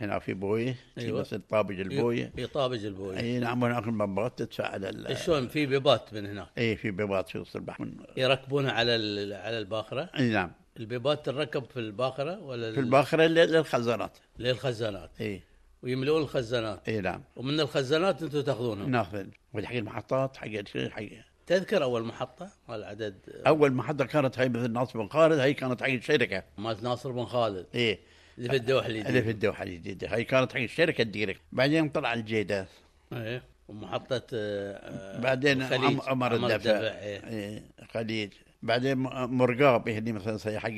B: هنا في بويه في
D: أيوة.
B: بس الطابج البويه
D: في طابج البويه
B: اي نعم هناك المبات تدفع على ال-
D: آه، شلون في بيبات من هناك
B: اي في بيبات في وسط البحر من-
D: يركبونها على ال- على الباخره
B: اي نعم
D: البيبات تركب في الباخره ولا
B: في الباخره لل- للخزانات
D: للخزانات
B: اي
D: ويملؤون الخزانات
B: اي نعم
D: ومن الخزانات انتم تاخذونهم
B: ناخذ والحق المحطات حق الشيء حق
D: تذكر اول محطه والعدد
B: اول محطه كانت هاي مثل ناصر بن خالد هاي كانت حق الشركه
D: مالت ناصر بن خالد
B: ايه
D: اللي في الدوحلي
B: اللي في الدوحه الجديده هاي كانت حق الشركه الديركت بعدين طلع الجيده
D: ايه ومحطه آه، آه،
B: بعدين
D: الخليج.
B: عم- عمر الدفع
D: إيه.
B: إيه، خليج بعدين م- مرقاب هني مثلا صحيح حق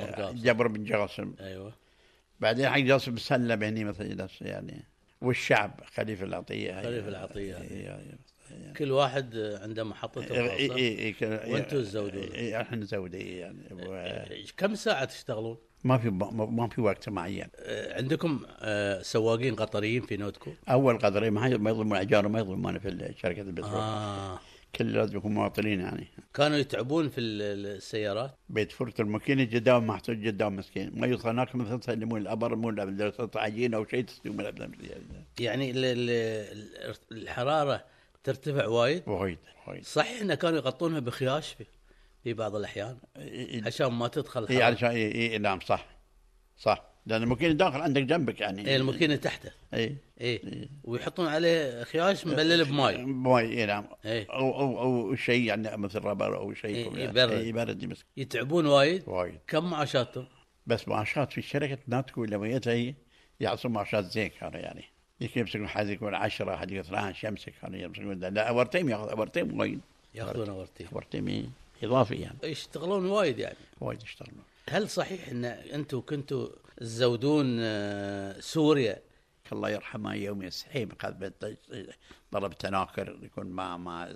D: مرقاب.
B: جبر بن جاسم
D: ايوه
B: بعدين حق جاسم سلم هني مثلا نفسه يعني والشعب خليفه العطيه هاي.
D: خليفة العطية.
B: إيه، إيه.
D: كل واحد آه، عنده محطته
B: اي
D: الخاصه
B: اي اي كان-
D: وأنتوا تزودون.
B: اي احنا نزود إي يعني و-
D: إيه، كم ساعه تشتغلون؟
B: ما في ما- ما في وقت معين
D: آه، عندكم آه، سواقين قطريين في نوتكو؟
B: اول قدر ما ما يظلمون اجار ما يظلمون في شركه البترول آه.
D: اه
B: كل لازم يكون مواطنين يعني
D: كانوا يتعبون في ال- ال- السيارات
B: بيت فرت الماكينه جدام محطوط جدام مسكين ما يوصل هناك مثلا يسلمون الابر مو عجين او شيء تسلمون الأبر.
D: يعني ال- ال- ال- الحراره ترتفع وايد
B: وايد وايد
D: صحيح انه كانوا يغطونها بخياش في في بعض الاحيان
B: إي- إي-
D: عشان ما تدخل
B: اي
D: حرارة.
B: علشان اي إي- نعم صح صح لان الماكينه داخل عندك جنبك يعني
D: إيه الماكينه تحته
B: اي
D: ايه ويحطون عليه خياش مبلل بماي
B: ماي اي نعم
D: إيه.
B: او او او شيء يعني مثل ربر او شيء
D: إي-
B: يعني.
D: يبرد.
B: إي، يبرد مسكين
D: يتعبون وايد
B: وايد
D: كم معاشاتهم؟
B: بس معاشات في شركة ناتكو لما جت هي يعطوا معاشات زين كانوا يعني يمكن يمسكون حد يكون 10 حد يكون 12 يمسك كانوا يمسكون ده. لا اورتيم ياخذ اورتيم وايد
D: ياخذون ورتين
B: اورتيم اضافي يعني
D: يشتغلون وايد يعني
B: وايد يشتغلون
D: هل صحيح ان انتم كنتوا تزودون آه، سوريا
B: الله يرحمه يوم يسحيم قد ضرب تناكر يكون مع مع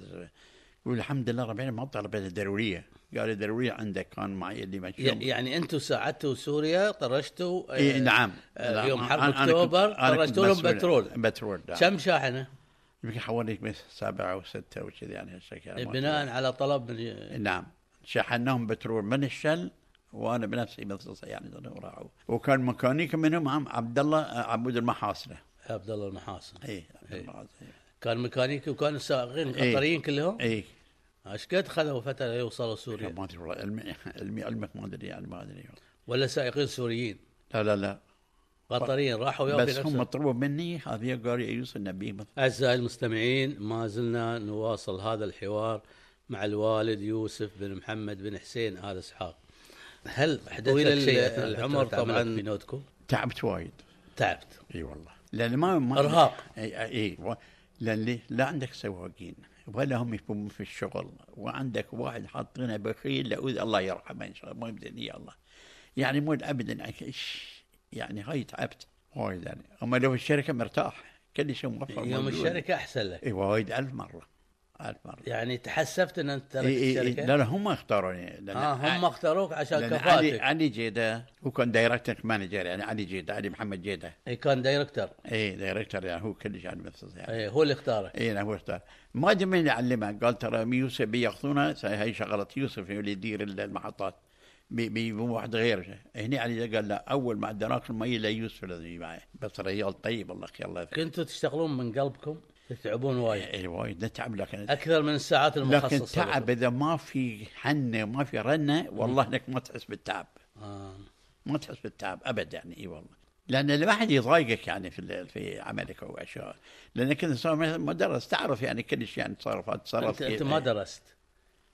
B: يقول الحمد لله رب العالمين ما طلبت الضروريه قال الضروريه عندك كان معي اللي ما
D: ي- يعني انتم ساعدتوا سوريا طرشتوا آه،
B: إيه نعم
D: آه،
B: نعم.
D: اليوم حرب
B: أنا- أنا كنت-
D: أكتوبر
B: أنا كنت
D: طرشتوا لهم
B: مسؤول.
D: بترول.
B: بترول نعم.
D: كم شاحنه؟
B: يمكن حوالي بس سبعة أو ستة أو كذي يعني هالشكل
D: بناء على طلب من
B: نعم شحناهم بترول من الشل وأنا بنفسي مثل يعني راحوا وكان ميكانيك منهم عم عبد الله عمود المحاصرة
D: عبد الله المحاصن
B: إي عبد
D: إي.
B: الله
D: كان ميكانيكي وكانوا سائقين
B: إيه.
D: قطريين كلهم إيه.
B: إي
D: ايش قد خذوا فتره ليوصلوا سوريا؟
B: ما أدري والله علمي علمي- علمك ما أدري يعني ما أدري
D: ولا سائقين سوريين
B: لا لا لا
D: قطريين راحوا وياهم
B: بس
D: في
B: هم
D: نفس
B: طلبوا مني هذه قال يوسف النبي مثل
D: أعزائي المستمعين ما زلنا نواصل هذا الحوار مع الوالد يوسف بن محمد بن حسين آل إسحاق هل حدث
E: طويل
D: لك شيء
E: ال-
D: أثناء العمر
E: تعاملك
D: طبعا
E: في
D: بنوتكم
B: تعبت وايد
D: تعبت
B: اي والله لان ما, ما
D: إرهاق.
B: اي اي إي. و- لان ليه؟ لا عندك سواقين ولا هم يكونون في الشغل وعندك واحد حاطينه بخيل لأوذ الله يرحمه ان شاء الله ما يبدل إياه الله يعني مو ابدا يعني إيش، يعني هاي تعبت وايد يعني اما لو في الشركه مرتاح كل شيء موفر
D: يوم
B: موجود.
D: الشركة أحسن لك
B: اي وايد الف مره الف مره
D: يعني تحسفت أن أنت تركت
B: إي إي إي.
D: الشركة
B: لا لا هم اختاروني لأن
D: آه هم
B: ع-
D: اختاروك عشان
B: لأن علي
D: كفاءتك
B: علي جيده هو كان دايركتنج مانجر يعني علي جيده علي محمد جيده
D: إي، كان دايركتر
B: اي دايركتور يعني هو كلش يعني مثل يعني
D: إي، هو اللي اختارك
B: اي نعم هو اختار ما ادري من اللي علمه قال ترى يوسف بياخذونه هاي شغله يوسف هو اللي يدير المحطات بي- بيجيبون واحد غيره هنا علي قال لا اول ما عدناك المي لا يوسف لازم يجي معي بس رجال طيب الله يخليه الله يذكره.
D: كنتوا تشتغلون من قلبكم تتعبون وايد
B: اي وايد نتعب لكن
D: أكثر من الساعات
B: لكن
D: المخصصة
B: تعب
D: لكم.
B: اذا ما في حنه وما في رنه والله انك ما تحس بالتعب
D: آه.
B: ما تحس بالتعب ابد يعني اي والله لان الواحد يضايقك يعني في ال- في عملك او اشياء لانك انت صار مثل مدرس تعرف يعني كل شيء يعني تصرفات تصرف إيه.
D: انت,
B: كيف.
D: انت ما درست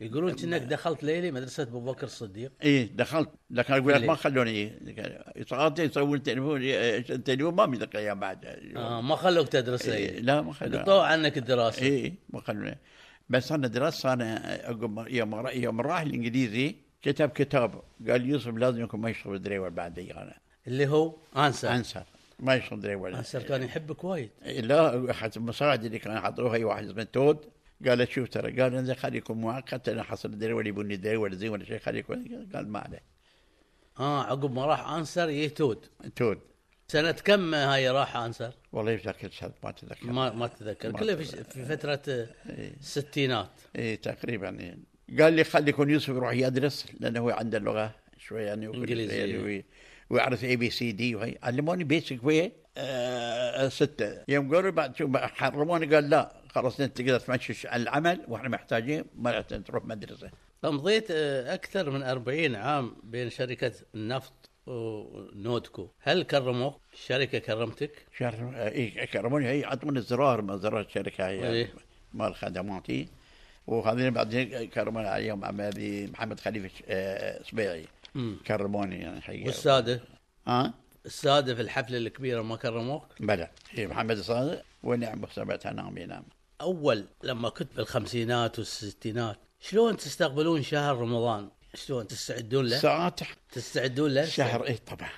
D: يقولون انك دخلت ليلي مدرسه ابو بكر الصديق
B: ايه دخلت لكن اقول لك
D: ليه؟
B: ما خلوني صارت يسوون تليفون التليفون ما بيدق ايام بعد
D: آه ما خلوك تدرس
B: إيه
D: ليلي
B: أيوة. لا ما خلوني
D: قطعوا عنك الدراسه
B: ايه ما خلوني بس انا درست انا عقب ما- يوم را- يوم راح الانجليزي كتب كتاب قال يوسف لازم يكون ما يشرب دريول بعد انا
D: اللي هو انسر
B: انسر ما يشرب دريول
D: انسر كان يحبك وايد
B: لا حتى المساعد اللي كان حطوه هي واحد اسمه تود قال له شوف ترى قال انزين خليه يكون مؤقت انا حصل دريول يبوني دريول زين ولا شيء خليه يكون قال ما عليه
D: اه عقب ما راح انسر يهتود
B: تود
D: سنه كم هاي راح انسر
B: والله يتذكر شهد ما تذكر
D: ما ما تتذكر
B: ما
D: كله في,
B: أتذكر.
D: في فتره الستينات
B: إيه تقريبا يعني. قال لي خلي يكون يوسف يروح يدرس لانه هو عنده اللغه شوي يعني وكل شيء
D: إنجليزية.
B: يعني وي- ويعرف اي بي سي دي وهي علموني بيسك وي آه سته يوم قالوا بعد شو بقى حرموني قال لا خلاص انت تقدر تمشي على العمل واحنا محتاجين ما راح تروح مدرسه
D: امضيت آه، اكثر من 40 عام بين شركه النفط ونودكو هل كرموك الشركه كرمتك
B: شهر اي كرموني هي عطوني الزرار ما زرار الشركه هي
D: إيه.
B: مال خدماتي وهذين بعدين كرموني عليهم عمالي محمد خليفه ش- آه، سبيعي كرموني يعني حقيقه
D: والساده
B: ها
D: الساده في الحفله الكبيره ما كرموك
B: بلى إيه محمد الصادق ونعم وثبتها نعم ينام
D: اول لما كنت بالخمسينات والستينات شلون تستقبلون شهر رمضان؟ شلون تستعدون له؟
B: ساعات
D: تستعدون له؟
B: شهر اي طبعا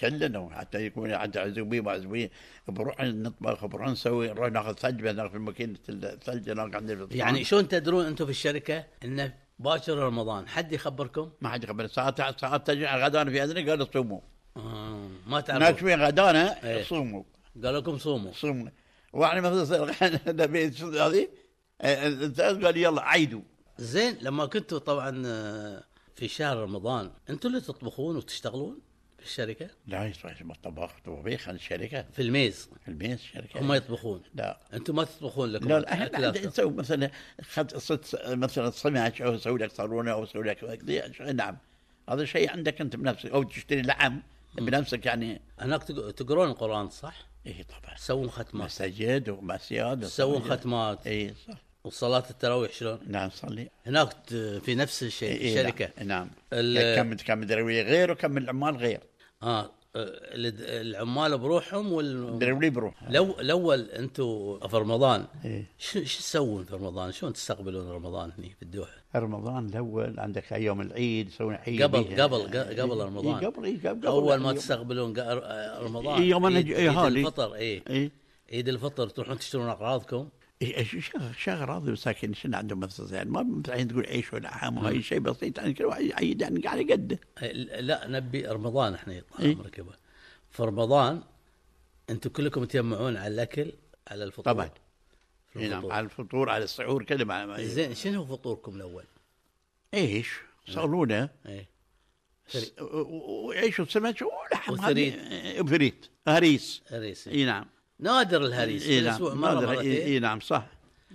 B: كلنا حتى يكون عند عزوبيه وعزوبيه بنروح نطبخ بنروح نسوي نروح ناخذ ثلج ناخذ في ماكينه الثلج ناخذ عند الفطار.
D: يعني شلون تدرون انتم في الشركه انه باكر رمضان حد يخبركم؟
B: ما حد يخبر ساعات ساعات تجي على غدانا في اذني قالوا صوموا
D: آه ما تعرفون
B: ناكلين غدانا
D: إيه.
B: صوموا
D: قالوا لكم صوموا
B: صوموا واحنا مثلا النبي شو هذه آه، آه، قال يلا عيدوا
D: زين لما كنتوا طبعا آه، في شهر رمضان انتم اللي تطبخون وتشتغلون في الشركه
B: لا يصير ما طبخ طبيخ عند الشركه
D: في الميز
B: في البيت الشركه
D: هم يطبخون
B: لا
D: انتم ما تطبخون لكم
B: لا لا احنا
D: أكلاتكم.
B: عندنا نسوي مثلا خد صد مثلا سمك او نسوي لك صالونه او نسوي لك كذي، شيء- نعم هذا شيء عندك انت بنفسك او تشتري لحم بنفسك يعني إيه،
D: هناك تق- تقرون القران صح؟
B: اي طبعا
D: تسوون ختمات
B: مساجد ومسياد
D: تسوون ختمات
B: اي إيه، صح
D: وصلاة التراويح شلون؟
B: نعم صلي
D: هناك ت- في نفس الشيء في
B: إيه، نعم،
D: الشركة
B: نعم
D: ال-
B: كم كم دروي غير وكم العمال غير
D: اه آه، الد- العمال بروحهم وال
B: دروي بروح
D: لو الاول انتم في رمضان
B: إيه.
D: شو شو تسوون في رمضان؟ شلون تستقبلون رمضان هني في الدوحه؟
B: رمضان الاول عندك ايام العيد يسوون عيد
D: قبل-
B: إيه.
D: قبل-
B: إيه،
D: قبل
B: إيه،
D: رمضان.
B: قبل إيه، قبل
D: اول ما
B: يوم-
D: تستقبلون قا- آه، رمضان
B: إيه، يوم أنا
D: عيد,
B: ج-
D: عيد
B: إيه، هالي.
D: الفطر اي
B: إيه.
D: عيد الفطر تروحون تشترون اغراضكم
B: إيه، إيش- شغل شغل راضي وساكن شنو عندهم مثلا يعني ما مستحيل تقول عيش ولا عام وهي شيء بسيط يعني كل واحد يعيد يعني على قده
D: آه، لا نبي رمضان احنا طال
B: إيه.
D: عمرك يبا. في رمضان انتم كلكم تجمعون على الاكل على الفطور
B: طبعا
D: في
B: إيه، نعم
D: الفطور.
B: على الفطور على السحور كذا مع مع-
D: زين شنو فطوركم الاول؟
B: ايش صالونه
D: ايه
B: س- و- و- وعيش وسمك ولحم
D: وثريد.
B: هذه- وثريد هريس
D: هريس
B: اي نعم
D: نادر الهريس
B: إيه،
D: كل
B: نعم.
D: اسبوع مره
B: نادر. إيه،
D: مرتين
B: إيه، نعم صح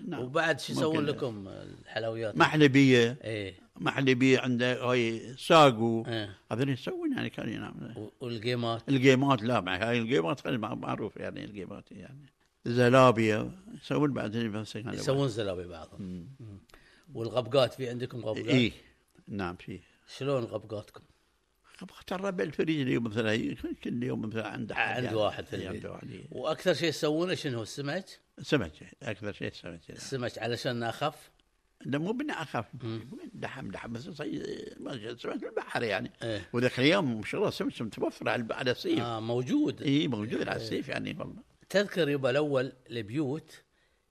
B: نعم
D: وبعد شو
B: ممكن.
D: يسوون لكم الحلويات؟
B: محلبيه
D: ايه
B: محل يبيع عنده هاي ساقو
D: إيه.
B: هذول يسوون يعني كانوا ينام
D: و- والجيمات
B: الجيمات لا مع هاي الجيمات خلي مع- معروف يعني الجيمات يعني زلابيا يسوون بعدين بس يعني
D: يسوون زلابي بعضهم مم. والغبقات في عندكم غبقات
B: اي نعم في
D: شلون غبقاتكم
B: ترى الفريج اليوم مثلا ي- كل يوم مثلا عنده حد
D: عند
B: يعني.
D: واحد في
B: إي،
D: البيت.
B: عنده واحد إي.
D: واكثر شيء تسوونه شنو السمك
B: سمك اكثر شيء سمك يعني.
D: السمك علشان اخف
B: لا مو من اخاف من دحم دحم بس صي- ما أدري، سمك البحر يعني
D: إيه.
B: وذاك اليوم ما شاء الله سمسم متوفر على الب- على السيف
D: آه إيه. موجود
B: اي موجود على السيف يعني والله
D: تذكر يبا الاول البيوت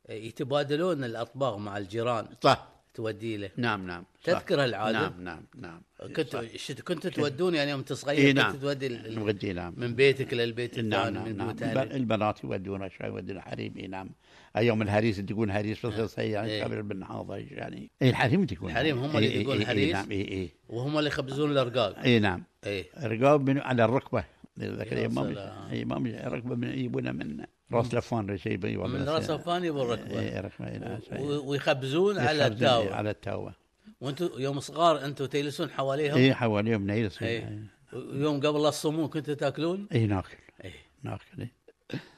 D: آه، يتبادلون الاطباق مع الجيران
B: صح
D: تودي له
B: نعم نعم صح.
D: تذكر هالعادة؟
B: نعم نعم نعم
D: كنت
B: صح.
D: شت- كنت تودون يعني يوم تصغير
B: اي
D: كنت
B: نعم
D: تودي ال- ال-
B: نودي نعم
D: من بيتك للبيت
B: نعم
D: الثاني
B: نعم
D: من
B: نعم
D: بيوت أهلك.
B: الب- البنات يودونا شوي يودونا حريم اي نعم يوم الهريس تقول هريس بس يعني
D: إيه.
B: قبل بالنهاضه يعني اي الحريم تقول
D: الحريم هم
B: إي-
D: اللي
B: إي- إي-
D: تقول
B: إي-
D: هريس؟
B: نعم اي اي
D: وهم اللي يخبزون إيه. الارقاق
B: اي نعم
D: اي
B: رقاب من على الركبه ذاك
D: يا
B: اليوم ما مش-
D: سلام.
B: اي ما مش- ركبه من يبونه من راس لفان ولا شيء إيه، يبونه
D: من
B: بس-
D: راس فاني بالركبه
B: اي ركبه اي نعم
D: و- ويخبزون على
B: يخرجون
D: التاوه
B: على التاوه
D: وانتم يوم صغار انتم تجلسون حواليهم
B: اي حواليهم نيرس
D: اي يوم قبل لا الصمون كنتوا تاكلون
B: اي ناكل
D: اي
B: ناكل إي.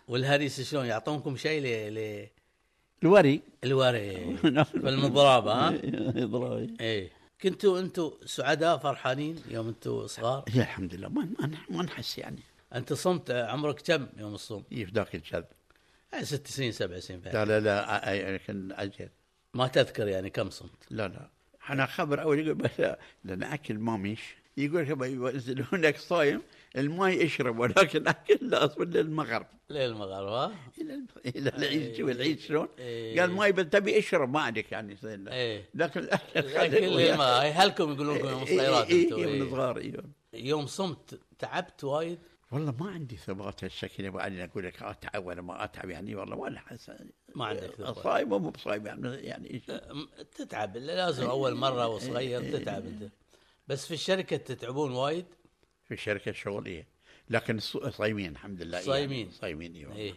D: والهريس شلون يعطونكم شيء ل ل
B: الوري
D: الوري بالمضراب ها
B: ضروري
D: اي إيه. كنتوا انتم سعداء فرحانين يوم انتم صغار
B: يا الحمد لله ما ما, ما نحس يعني
D: انت صمت عمرك كم يوم الصوم؟
B: إي، في ذاك الكذب
D: يعني ست سنين سبع سنين بعد
B: لا لا لا أي- أي- كان اجل
D: ما تذكر يعني كم صمت
B: لا لا انا خبر اول يقول بس لان اكل ما مش يقول لك ينزلونك صايم الماي اشرب ولكن اكل لا اصبر للمغرب
D: ليل المغرب ها؟
B: الى الم- الى العيد شوف العيد شلون
D: إيه.
B: قال ماي بس تبي اشرب ما عليك يعني
D: إيه.
B: لكن الاكل خلي-
D: كل يوم- هلكم يقولون لكم يوم
B: إيه،
D: صغيرات
B: إيه،
D: انتوا
B: إيه، من
D: إيه.
B: صغار إيه.
D: يوم صمت تعبت وايد
B: والله ما عندي ثبات هالشكل ابو علي اقول لك اتعب ولا ما اتعب يعني والله ولا حس
D: ما عندك ثبات.
B: صايم ومو بصايم يعني يعني
D: أم- تتعب لازم اول مره
B: إيه.
D: وصغير تتعب انت بس في الشركه تتعبون وايد
B: في الشركه الشغليه لكن الص- صايمين الحمد لله إيه،
D: صايمين.
B: صايمين إيه والله.
D: ايه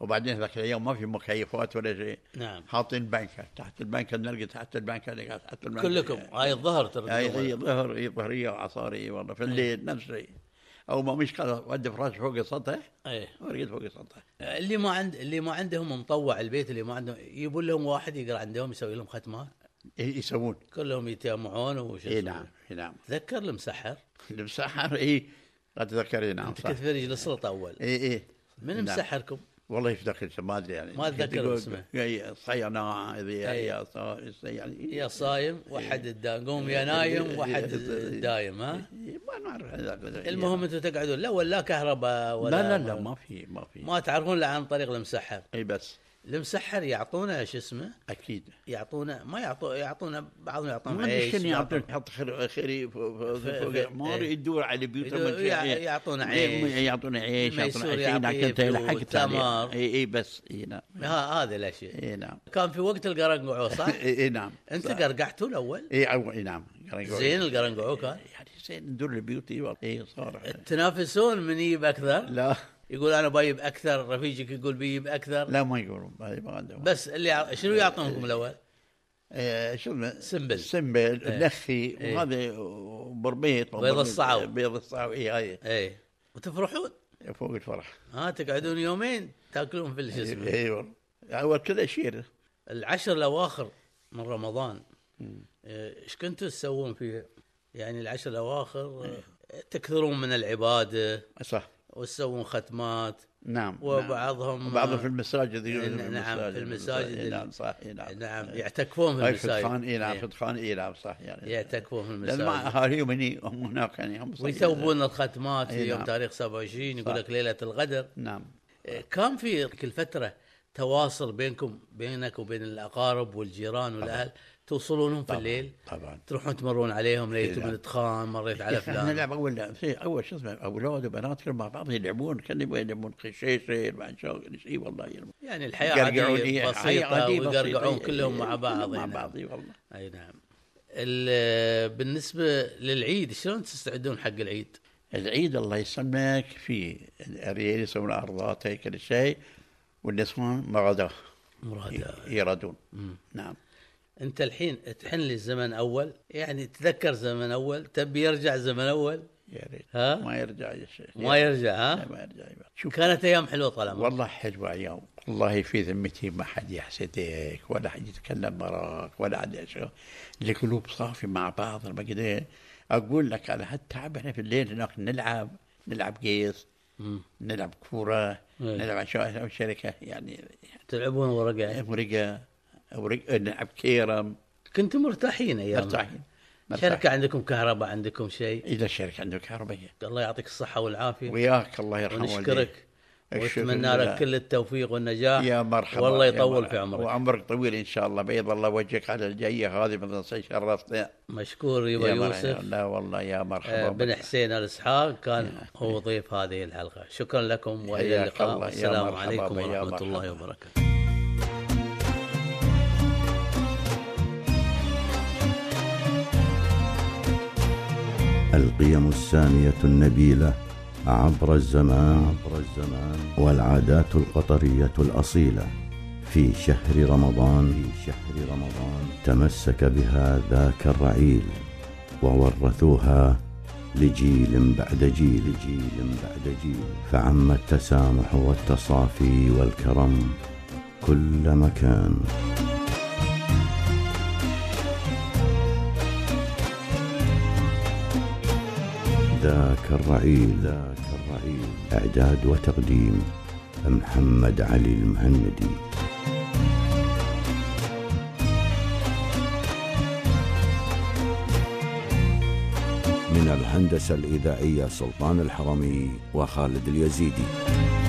B: وبعدين ذاك اليوم ما في مكيفات ولا شيء
D: نعم.
B: حاطين بنكه تحت البنكه نلقى تحت البنكه نلقى تحت البنكه
D: كلكم هاي الظهر
B: اي اي
D: ترى
B: ظهر اي ظهريه وعصاري إي والله في الليل
D: نعم.
B: نفس الشيء او ما مش قال ودي فراش فوق السطح
D: ايه
B: ورقد فوق السطح
D: اللي ما عند اللي ما عندهم مطوع البيت اللي ما عندهم يبون لهم واحد يقرا عندهم يسوي لهم ختمات
B: إي- يسوون
D: كلهم يتجمعون وش
B: اي
D: يسوون.
B: نعم اي نعم
D: تذكر المسحر
B: المسحر اي إيه، لا تذكري نعم
D: انت
B: صح
D: كنت فريج السلطه اول
B: اي اي نعم.
D: من مسحركم؟
B: والله يفتكر ما ادري يعني
D: ما أتذكر
B: يقول-
D: اسمه.
B: إي، صيانه إذا-
D: أي.
B: يا صا- يعني
D: يا صايم واحد الدانقوم
B: إيه،
D: يا نايم واحد دايم ها
B: إي، إيه، ما نعرف هذاك.
D: المهم انتم تقعدون لا ولا كهرباء ولا
B: إيه، نعم. لا لا لا ما في ما في
D: ما تعرفون الا عن طريق المسحر
B: اي بس
D: المسحر يعطونا شو اسمه
B: اكيد
D: يعطونا ما يعطو يعطونا بعضهم يعطون
B: ما ادري
D: عيش
B: شنو
D: بعضهم-
B: يعطونك يحط خير- خيري فوق- فوق-
D: ف-
B: فوق
D: ف-
B: ما
D: إيه.
B: يدور على بيوت
D: يدور- يع- يعطونا عيش.
B: يعطونا يعني. عيش
D: الميسور
B: يعطونا عيش
D: يعطيه
B: لكن انت
D: بيوت،
B: لحقت عليه.
D: تمر.
B: اي اي بس اي نعم
D: ها هذا الاشياء
B: اي نعم
D: كان في وقت القرنقعو صح؟
B: اي إي نعم
D: انت
B: صح.
D: قرقعتوا الاول
B: اي عو- اي نعم
D: زين القرنقعو كان
B: يعني زين ندور البيوت اي والله اي صار
D: تنافسون من يجيب اكثر
B: لا
D: يقول انا بايب اكثر رفيجك يقول بيجيب اكثر
B: لا ما يقولون ما ما عندهم
D: بس اللي يع- شنو يعطونكم الاول؟
B: آه، شو اسمه؟
D: سنبل.
B: سنبل
D: إيه.
B: نخي
D: إيه.
B: وهذا بربيط
D: بيض الصعو.
B: بيض الصعو اي هاي
D: اي إيه. وتفرحون
B: فوق الفرح
D: ها تقعدون يومين تاكلون في
B: إيه،
D: ال- شو اسمه
B: اي والله هو كذا شير
D: العشر الاواخر من رمضان إيه، ايش كنتوا تسوون فيه؟ يعني العشر الاواخر إيه، تكثرون من العباده
B: صح
D: وتسوون ختمات
B: نعم
D: وبعضهم-
B: نعم. وبعضهم في المساجد يقولون
D: نعم، في المساجد.
B: إي نعم صح اي نعم
D: نعم يعتكفون في
B: هاي في
D: المساجد
B: الخان اي نعم
D: إيه،
B: في الخان اي نعم صح يعني
D: يعتكفون في
B: لان ما
D: المساجد
B: اهاليهم هني هم هناك يعني هم صغيرين.
D: ويثوبون الختمات في
B: إي
D: يوم
B: نعم.
D: تاريخ 27 يقول
B: صح.
D: لك ليله الغدر
B: نعم
D: إيه، كان في كل فتره تواصل بينكم بينك وبين الاقارب والجيران والاهل توصلونهم في
B: طبعاً.
D: الليل
B: طبعاً.
D: تروحون تمرون عليهم ليتوا
B: نعم.
D: من تخان مريت على
B: احنا
D: فلان
B: نلعب اول في اول شو اسمه اولاد وبنات كلهم مع بعض يلعبون كانوا يبغوا يلعبون قشيشه بعد شو اي والله يلعبون.
D: يعني الحياه
B: يقرقعون، إي،
D: عاديه
B: هاي
D: بسيطه
B: عادية بسيطة.
D: ويقرقعون
B: إي، إي،
D: كلهم مع
B: إي،
D: بعض
B: كلهم طيب. مع
D: إي نعم.
B: بعض اي والله
D: اي نعم ال- بالنسبه للعيد شلون تستعدون حق العيد؟
B: العيد الله يسلمك في الاريال يسوون ارضات هيك كل شيء والنسوان مغاداه
D: مراد
B: يردون نعم
D: انت الحين تحن لي زمن اول يعني تذكر زمن اول تبي يرجع زمن اول
B: يا ريت
D: ها؟
B: ما يرجع يا شيخ
D: ما يرجع ها
B: ما يرجع يبا. إيه. نعم. شوف
D: كانت ايام حلوه طال
B: والله حلوة ايام والله في ذمتي ما حد يحسدك ولا حد يتكلم براك ولا حد يشوف القلوب صافي مع بعض ما كده اقول لك على هالتعب احنا في الليل هناك نلعب نلعب قيص
D: مم.
B: نلعب كوره
D: إيه.
B: نلعب عشاء شركه يعني
D: تلعبون ورقه
B: إيه.
D: يعني.
B: ورقه ورقه نلعب كيرم
D: كنتم مرتاحين ايام
B: مرتاحين
D: شركه عندكم كهرباء عندكم شيء
B: اذا الشركه عندك كهربائيه
D: الله يعطيك الصحه والعافيه
B: وياك الله يرحمه
D: ونشكرك
B: الشكر
D: ونتمنى
B: لله.
D: لك كل التوفيق والنجاح
B: يا مرحبا
D: والله
B: يا
D: يطول
B: مرحبا.
D: في عمرك
B: وعمرك طويل ان شاء الله بيض الله وجهك على الجايه هذه مثلا شرفتنا
D: مشكور يبا
B: يا مرحبا.
D: أيوة يوسف
B: لا والله يا مرحبا
D: آه، بن حسين الاسحاق كان هو ضيف هذه الحلقه شكرا لكم والى
B: حياك
D: اللقاء
B: الله. يا
D: والسلام
B: مرحبا
D: عليكم
B: بيا
D: ورحمه
B: مرحبا.
D: الله وبركاته
C: القيم السامية النبيلة عبر الزمان عبر الزمان والعادات القطرية الأصيلة في شهر رمضان في شهر رمضان تمسك بها ذاك الرعيل وورثوها لجيل بعد جيل جيل بعد جيل فعم التسامح والتصافي والكرم كل مكان ذاك الرعيل ذاك الرعيل إعداد وتقديم محمد علي المهندي من الهندسة الإذاعية سلطان الحرمي وخالد اليزيدي